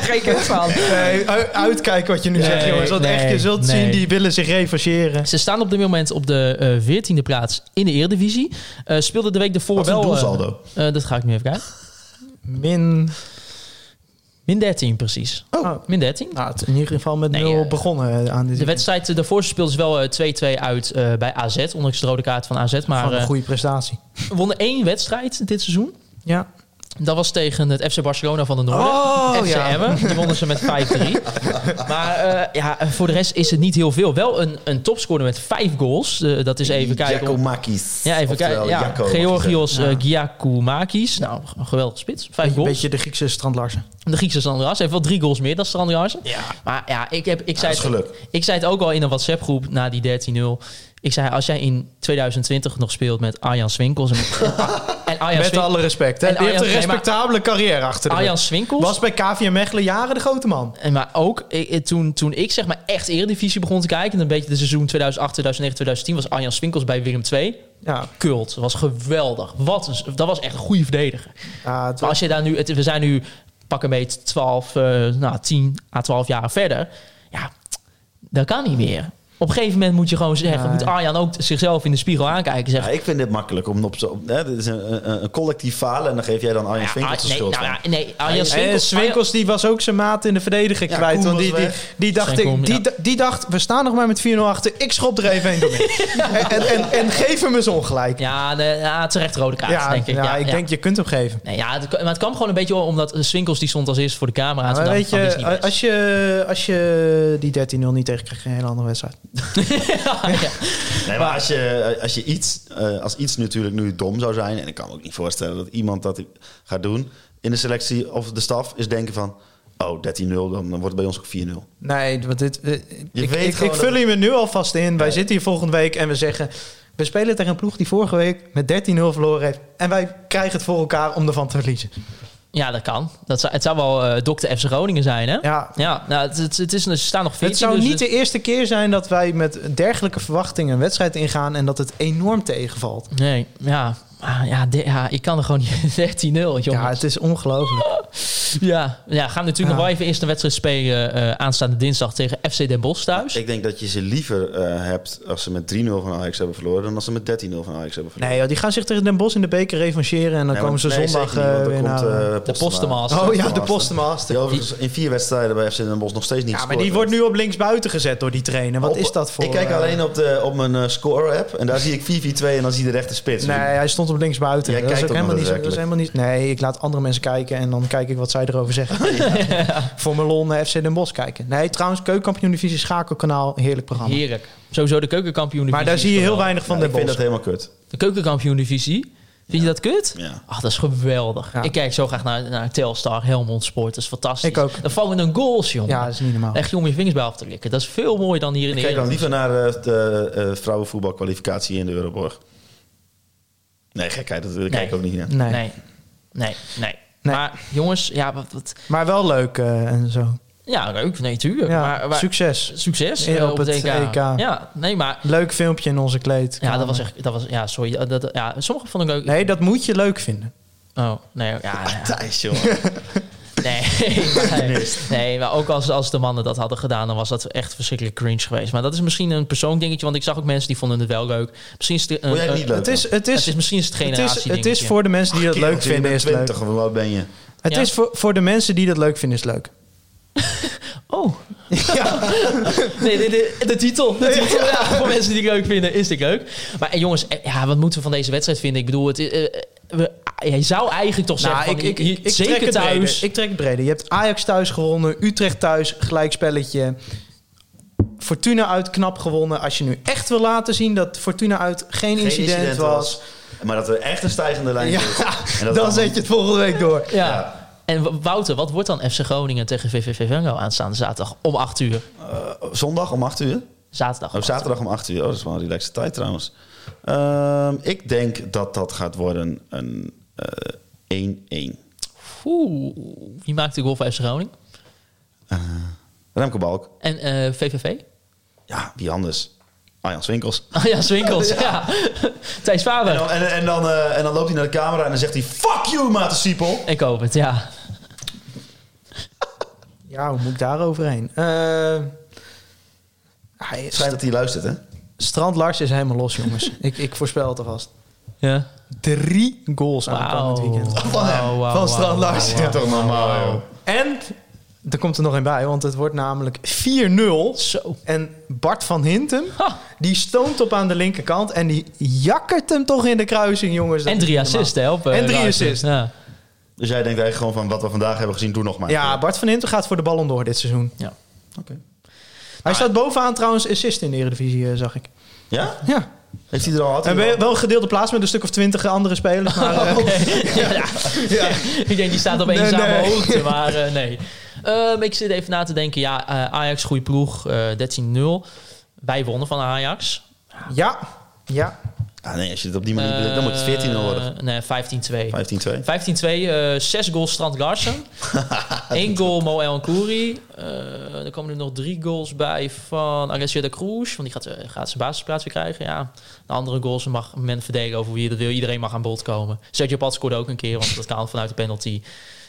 Geen kut van. Nee, Eh, uitkijken wat je nu Nee, zegt, jongens, want nee, echt, je zult nee. zien, die willen zich revancheren. Ze staan op dit moment op de eh, veertiende plaats in de Eredivisie. Eh speelde de week ervoor Wat is wel... het eh, doelsaldo? eh, dat ga ik nu even kijken. Min, Min 13 precies. Oh. Min 13. nou, het- in ieder geval met Nee, nul eh, begonnen aan dit De wedstrijd eh, daarvoor speelden ze wel eh, 2-2 uit eh, bij AZ. Ondanks de rode kaart van AZ. Maar Van een eh, goede prestatie. wonnen één wedstrijd dit seizoen. Ja. Dat was tegen het FC Barcelona van de Noorden. Oh, FC ja. Emmen. Die wonnen ze met 5-3. maar eh, ja, voor de rest is het niet heel veel. Wel een, een topscorer met vijf goals. Eh, dat is even kijken. Giacomakis. Ja, even Oftewel kijken. Ja, Jacco, mag je Georgios zeggen. eh, Giacoumakis. Nou, een geweldige spits. Vijf Een goals. beetje de Griekse strandlarsen. De Griekse Sandrars heeft wel drie goals meer dan Sandrars. Maar ja, ik, heb, ik, zei dat het, is geluk. ik zei het ook al in een WhatsApp-groep na die 13-0. Ik zei, als jij in 2020 nog speelt met Arjan Swinkels... En, en Arjan, Met Swin- alle respect. Hè? En Die heeft een Arjan- nee, maar- respectabele carrière achter de Arjan rug. Swinkels... Was bij KVM Mechelen jaren de grote man. En maar ook ik- ik- toen, toen ik zeg maar echt Eredivisie begon te kijken... en een beetje de seizoen 2008, 2009, 2010... was Arjan Swinkels bij Willem II. Ja, Kult. Dat was geweldig. Wat een, dat was echt een goede verdediger. ja, het Maar als je daar nu, het- we zijn nu pak een beetje 12, eh, nou, 10 à 12 jaar verder. Ja, dat kan niet meer. Op een gegeven moment moet je gewoon zeggen, Nee. moet Arjan ook zichzelf in de spiegel aankijken. en Ja, Zeggen, ik vind dit makkelijk. Om op, zo- op, hè, dit is een, een, een collectief falen en dan geef jij dan Arjen ja, Swinkels de nee, schuld nou, van. ja, nee, Arjan En Swinkels. Swinkels die was ook zijn maat in de verdediging Ja, kwijt. Koen Want die, was die, weg. die, dacht Sven Koen, ik, die, ja. da- die dacht, we staan nog maar met 4-0 achter. Ik schop er even een door *laughs* in. en, en, en, en geef hem eens ongelijk. Ja, de, ja, terecht rode kaart, denk ik. ja, ik ja. denk je kunt hem geven. Nee, ja, het, maar het kwam gewoon een beetje omdat Swinkels die stond als eerste voor de camera. maar toen weet dacht ik van, dit is je, niet als je, als je die 13-0 niet tegenkrijgt, een hele andere wedstrijd. best. *laughs* Ja. Nee, maar als je, als je iets, eh, als iets natuurlijk nu dom zou zijn, en ik kan me ook niet voorstellen dat iemand dat gaat doen in de selectie of de staf, is denken van, oh 13-0, dan wordt het bij ons ook 4-0. Nee, want dit, eh, ik, weet ik, gewoon ik vul dat- hem er nu alvast in. Wij zitten hier volgende week en we zeggen... We spelen tegen een ploeg die vorige week met 13-0 verloren heeft. En wij krijgen het voor elkaar om ervan te verliezen. ja, dat kan. Dat zou, het zou wel eh dokter FC Groningen zijn, hè? Ja, Ja, nou, het, het, het is, ze staan nog 14. Het zou dus niet de eerste keer zijn dat wij met dergelijke verwachtingen een wedstrijd ingaan en dat het enorm tegenvalt. Nee, ja. Ah, Ja, de- ja, ik kan er gewoon niet *laughs* 13-0, jongens. Ja, Ja, het is ongelooflijk. ja. gaan we natuurlijk Ja. nog wel even eerst een wedstrijd spelen eh, aanstaande dinsdag tegen FC Den Bosch thuis. Ik denk dat je ze liever eh, hebt als ze met 3-0 van Ajax hebben verloren, dan als ze met 13-0 van Ajax hebben verloren. Nee, joh, die gaan zich tegen Den Bos in de beker revancheren en dan Nee, komen want- ze nee, zondag zeker niet, eh, want weer dan naar... komt, eh, de Postemaster. oh ja, de Postemaster. Die Postmaster. overigens in vier wedstrijden bij FC Den Bosch nog steeds niet Ja, maar gescoord die heeft. wordt nu op linksbuiten gezet door die trainer. Wat Op- is dat voor... Ik kijk eh, alleen op, de, op mijn eh, score-app en daar zie ik 4-4-2 en dan zie je de rechter spits. Dus Nee, hij stond op linksbuiten. Jij Dat is ook kijkt ook helemaal niet, nog zo- dat is helemaal niet... Nee, ik laat andere mensen kijken en dan kijk ik wat zij erover zeggen. *laughs* Voor mijn lol naar FC Den Bosch kijken. Nee, trouwens, Keukenkampioen Divisie Schakelkanaal, heerlijk programma. Heerlijk. Sowieso de keukenkampioen Maar daar zie je heel weinig van Ja, Den ik vind Bosch. dat helemaal kut. De keukenkampioen divisie. Vind je dat kut? Ja. Ach, dat is geweldig. Ja. Ik kijk zo graag naar, naar Telstar, Helmond Sport. Dat is fantastisch. Ik ook. Dan vallen een goals, jongen. Ja, dat is niet normaal. Echt om je vingers bij af te likken. Dat is veel mooier dan hier in de Ik kijk dan Eredivisie. liever naar eh, de eh, vrouwenvoetbalkwalificatie in de Euroborg. Nee, gekheid, dat dat kijk ik ook niet naar. Nee. Nee. Nee, nee. Nee. Maar jongens, ja, wat, wat, Maar wel leuk eh, en zo. ja leuk. Nee, tuurlijk. Ja, maar, maar- succes. Succes Ja, eh, op op het EK. het EK. Ja, nee, maar Leuk filmpje in onze kleed. Ja, dat was echt. Dat was, ja, sorry. dat- Dat, ja, sommige vond ik ook. Nee, dat moet je leuk vinden. Oh, nee. Ja, ja, Ah, Thijs, *laughs* joh. *laughs* nee, maar, nee, maar ook als, als de mannen dat hadden gedaan, dan was dat echt verschrikkelijk cringe geweest. Maar dat is misschien een persoonlijk dingetje, want ik zag ook mensen die vonden het wel leuk. Misschien is het, een- Vond jij het een- niet leuk? Het is, het het is, is, misschien is het het is, generatie het is voor de mensen die dat leuk vinden is het leuk. 20 of wat ben je? Het Ja. is voor, voor de mensen die dat leuk vinden is het leuk. Oh. *laughs* nee, nee, nee, de titel. De titel ja. voor mensen die het leuk vinden, is dit leuk. Maar eh, jongens, eh, ja, wat moeten we van deze wedstrijd vinden? Ik bedoel, het, is- eh, eh, we, je zou eigenlijk toch Nou, zeggen, van, hier- zeker het breder. thuis. Ik trek het breder. Je hebt Ajax thuis gewonnen, Utrecht thuis, gelijkspelletje. Fortuna uit knap gewonnen. Als je nu echt wil laten zien dat Fortuna uit geen, Geen incident, was. Maar dat we echt een stijgende lijn Ja, zitten. En dat *laughs* dan allemaal- zet je het volgende week door. Ja. Ja. En W- Wouter, wat wordt dan FC Groningen tegen VVV Venlo aanstaande zaterdag om 8 uur? Zondag om 8 uur. Zaterdag. om Oh, acht uur. zaterdag om 8 uur. Oh, dat is wel een relaxte tijd trouwens. Ehm, ik denk dat dat gaat worden een eh, 1-1. Oeh, wie maakt de goal voor FC Groningen? Remco Balk. En eh, VVV? Ja, wie anders? Arjan Winkels. *laughs* Ah ja, Swinkels, ja. Thijs En Faber. dan, en, en dan, eh, en dan loopt hij naar de camera en dan zegt hij... Fuck you, Maarten Siepel. Ik hoop het, ja. Ja, hoe moet ik daar overheen? Eh, hij is- Schijnt dat hij luistert, hè? Strand Lars is helemaal los, jongens. ik, ik voorspel het alvast. ja. Drie goals aan Wauw. Nou, het weekend. Van hem, wauw, van wauw, Strand wauw, Larsen. wauw. toch normaal, En er komt er nog een bij, want het wordt namelijk 4-0. Zo. En Bart van Hintem, Ha. die stoomt op aan de linkerkant en die jakkert hem toch in de kruising, jongens. Dat En is drie niet normaal. assists, hè? Op, eh, En drie Larsen. assists. *laughs* Ja. Dus jij denkt eigenlijk gewoon van... Wat we vandaag hebben gezien, doe nog maar. Ja, Bart van Hintem gaat voor de ballon door dit seizoen. ja. Nou, Oké. Hij staat bovenaan trouwens assist in de Eredivisie, eh, zag ik. Ja? Ja. Heeft hij er al... Had hij En er al- we- wel een gedeelde plaats met een stuk of twintig andere *laughs* spelers. Maar, eh, Oh. Ik denk, die staat op eenzame Nee, nee. hoogte, maar eh, nee. Ehm, ik zit even na te denken. Ja, eh, Ajax, goede ploeg. eh 13-0. Wij wonnen van Ajax. ja, ja. Ah, nee, als je het op die manier... bedenkt, dan moet het 14 worden. Eh, Nee, 15-2. 15-2. 15-2, eh, zes goals Strand *laughs* Larsen. Eén goal Mo El Khoury. Eh, er komen er nog drie goals bij van Alessio de Cruz. Want die gaat, eh, gaat zijn basisplaats weer krijgen. Ja, de andere goals mag men verdedigen over wie je dat wil. Iedereen mag aan bod komen. Sergio Pat scoorde ook een keer, want dat kan vanuit de penalty.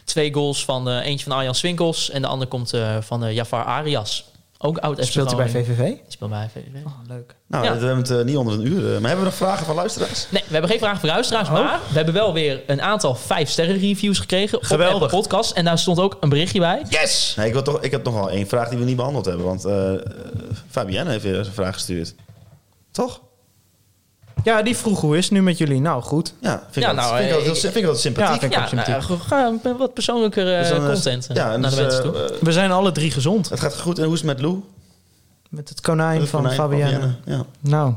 Twee goals van eh, eentje van Arjan Swinkels. En de ander komt eh, van eh Jafar Arias. Ook oud FC Speelt hij bij Groningen. VVV? Die speelt bij VVV. leuk. Nou, Ja. we hebben het eh, niet onder een uur. eh, maar hebben we nog vragen van luisteraars? Nee, we hebben geen vraag voor Oh. luisteraars, maar we hebben wel weer een aantal 5-sterren reviews gekregen Geweldig. op Apple Podcast. En daar stond ook een berichtje bij. Yes! Nee, ik, wil toch, ik heb nog wel één vraag die we niet behandeld hebben. Want eh eh, Fabienne heeft weer eens een vraag gestuurd. Toch? Ja, die vroeg hoe is het nu met jullie? Nou, goed. Ja, vind ik Ja, altijd- nou, vind ik altijd eh, heel- vind ik altijd sympathiek. Ja, vind ik ook nou, sympathiek. eh, gewoon een wat persoonlijker eh, Dus dan, eh, content eh, ja, en naar de dus, mensen eh, toe. eh, We zijn alle drie gezond. het gaat goed. En hoe is het met Lou? Met het konijn Met van konijn Fabienne. Ja. Nou,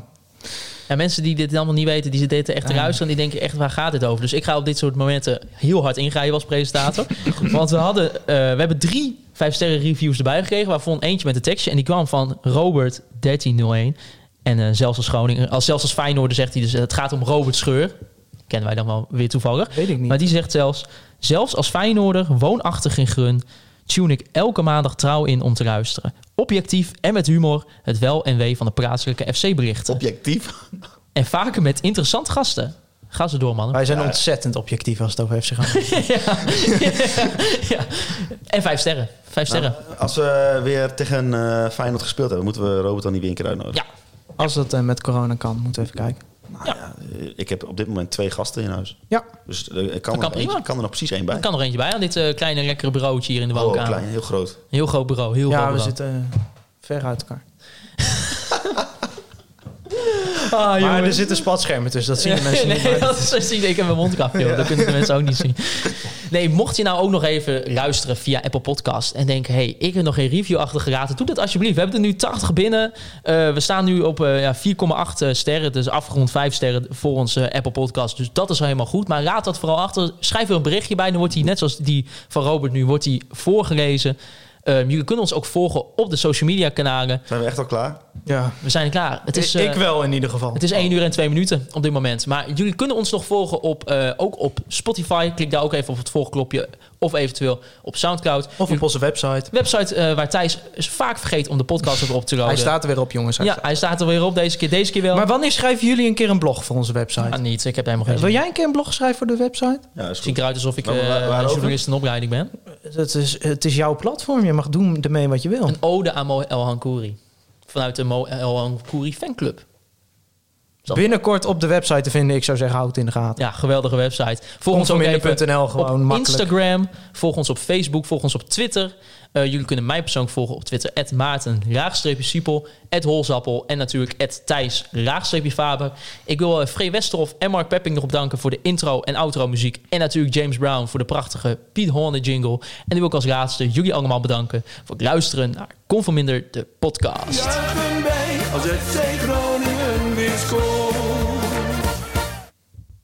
En mensen die dit allemaal niet weten, die zitten dit Ah, echt te ruisteren. En die denken echt, waar gaat dit over? Dus ik ga op dit soort momenten heel hard ingrijpen als *laughs* presentator. Want we, hadden, eh, we hebben drie 5-sterren reviews erbij gekregen. Waarvan eentje met een tekstje. En die kwam van Robert1301. En eh, zelfs als Groningen, als, zelfs als Feyenoorder zegt hij dus, eh, het gaat om Robert Scheur. Kennen wij dan wel weer toevallig. Weet ik niet. Maar die zegt zelfs, zelfs als Feyenoorder, woonachtig in Grun, tune ik elke maandag trouw in om te luisteren. Objectief en met humor het wel en wee van de plaatselijke FC-berichten. *laughs* Objectief. En vaker met interessante gasten. Ga ze door, mannen. wij zijn ontzettend objectief als het over FC gaat. Ja. En vijf sterren. Vijf sterren. Nou, Als we weer tegen eh Feyenoord gespeeld hebben, moeten we Robert dan niet weer een keer uitnodigen. Ja. Als dat eh, met corona kan, moeten we even kijken. Eh, Ik heb op dit moment twee gasten in huis. Ja, Dus eh, ik kan, kan er nog eentje- prima. ik kan er nog precies één bij. Er kan nog eentje bij aan dit eh, kleine lekkere bureautje hier in de Oh, woonkamer. klein, heel groot. Heel groot bureau. Heel ja groot we bureau. zitten eh, ver uit elkaar. Ah, Maar jongens. er zitten spatschermen tussen, dat zien de *laughs* mensen niet. nee, maar- dat is, dat zie ik. Ik heb mijn mondkapje, op. dat kunnen de mensen ook niet zien. Nee, mocht je nou ook nog even luisteren via Apple Podcast en denken: hey, ik heb nog geen review achter geraten, doe dat alsjeblieft. We hebben er nu 80 binnen. Eh, we staan nu op eh, ja, 4,8 eh, sterren, dus afgerond 5 sterren voor onze Apple Podcast. Dus dat is wel helemaal goed. Maar raad dat vooral achter. Schrijf er een berichtje bij, dan wordt die net zoals die van Robert nu, wordt die voorgelezen. Eh, jullie kunnen ons ook volgen op de social media kanalen. Zijn we echt al klaar? ja, We zijn klaar. Het is, eh, ik wel in ieder geval. het is 1 uur en 2 minuten op dit moment. Maar jullie kunnen ons nog volgen op, eh, ook op Spotify. Klik daar ook even op het volgklopje. Of eventueel op Soundcloud. Of op onze website. Website eh, waar Thijs vaak vergeet om de podcast erop te laden. Hij staat er weer op, jongens. hij ja, staat- hij staat er weer op deze keer. Deze keer wel. Oh, Maar wanneer schrijven jullie een keer een blog voor onze Ah, website? niet. Ik heb helemaal geen Wil zin. jij een keer een blog schrijven voor de website? Ja, is Ziet goed. eruit alsof ik eh Waar- waar- waarover? journalist in opleiding ben. Het is, het is jouw platform, je mag doen ermee wat je wil. Een ode aan Mo El Hankouri. Vanuit de Mo El Hankouri fanclub. dat- Binnenkort op de website te vinden. Ik zou zeggen, houd het in de gaten. Ja, geweldige website. Volg ons ook even Onverminder.nl gewoon op makkelijk. Instagram. Volg ons op Facebook. Volg ons op Twitter. Eh, jullie kunnen mij persoonlijk volgen op Twitter. At Maarten, laagstreepje Siepel. At Holzappel. En natuurlijk at Thijs, laagstreepje Faber. Ik wil eh, Free Westerhof en Mark Pepping erop danken voor de intro en outro muziek. En natuurlijk James Brown voor de prachtige Piet Horne jingle. En nu wil ik als laatste jullie allemaal bedanken voor het luisteren naar Conforminder, de podcast. Juichen bij als FC Groningen weer scoort.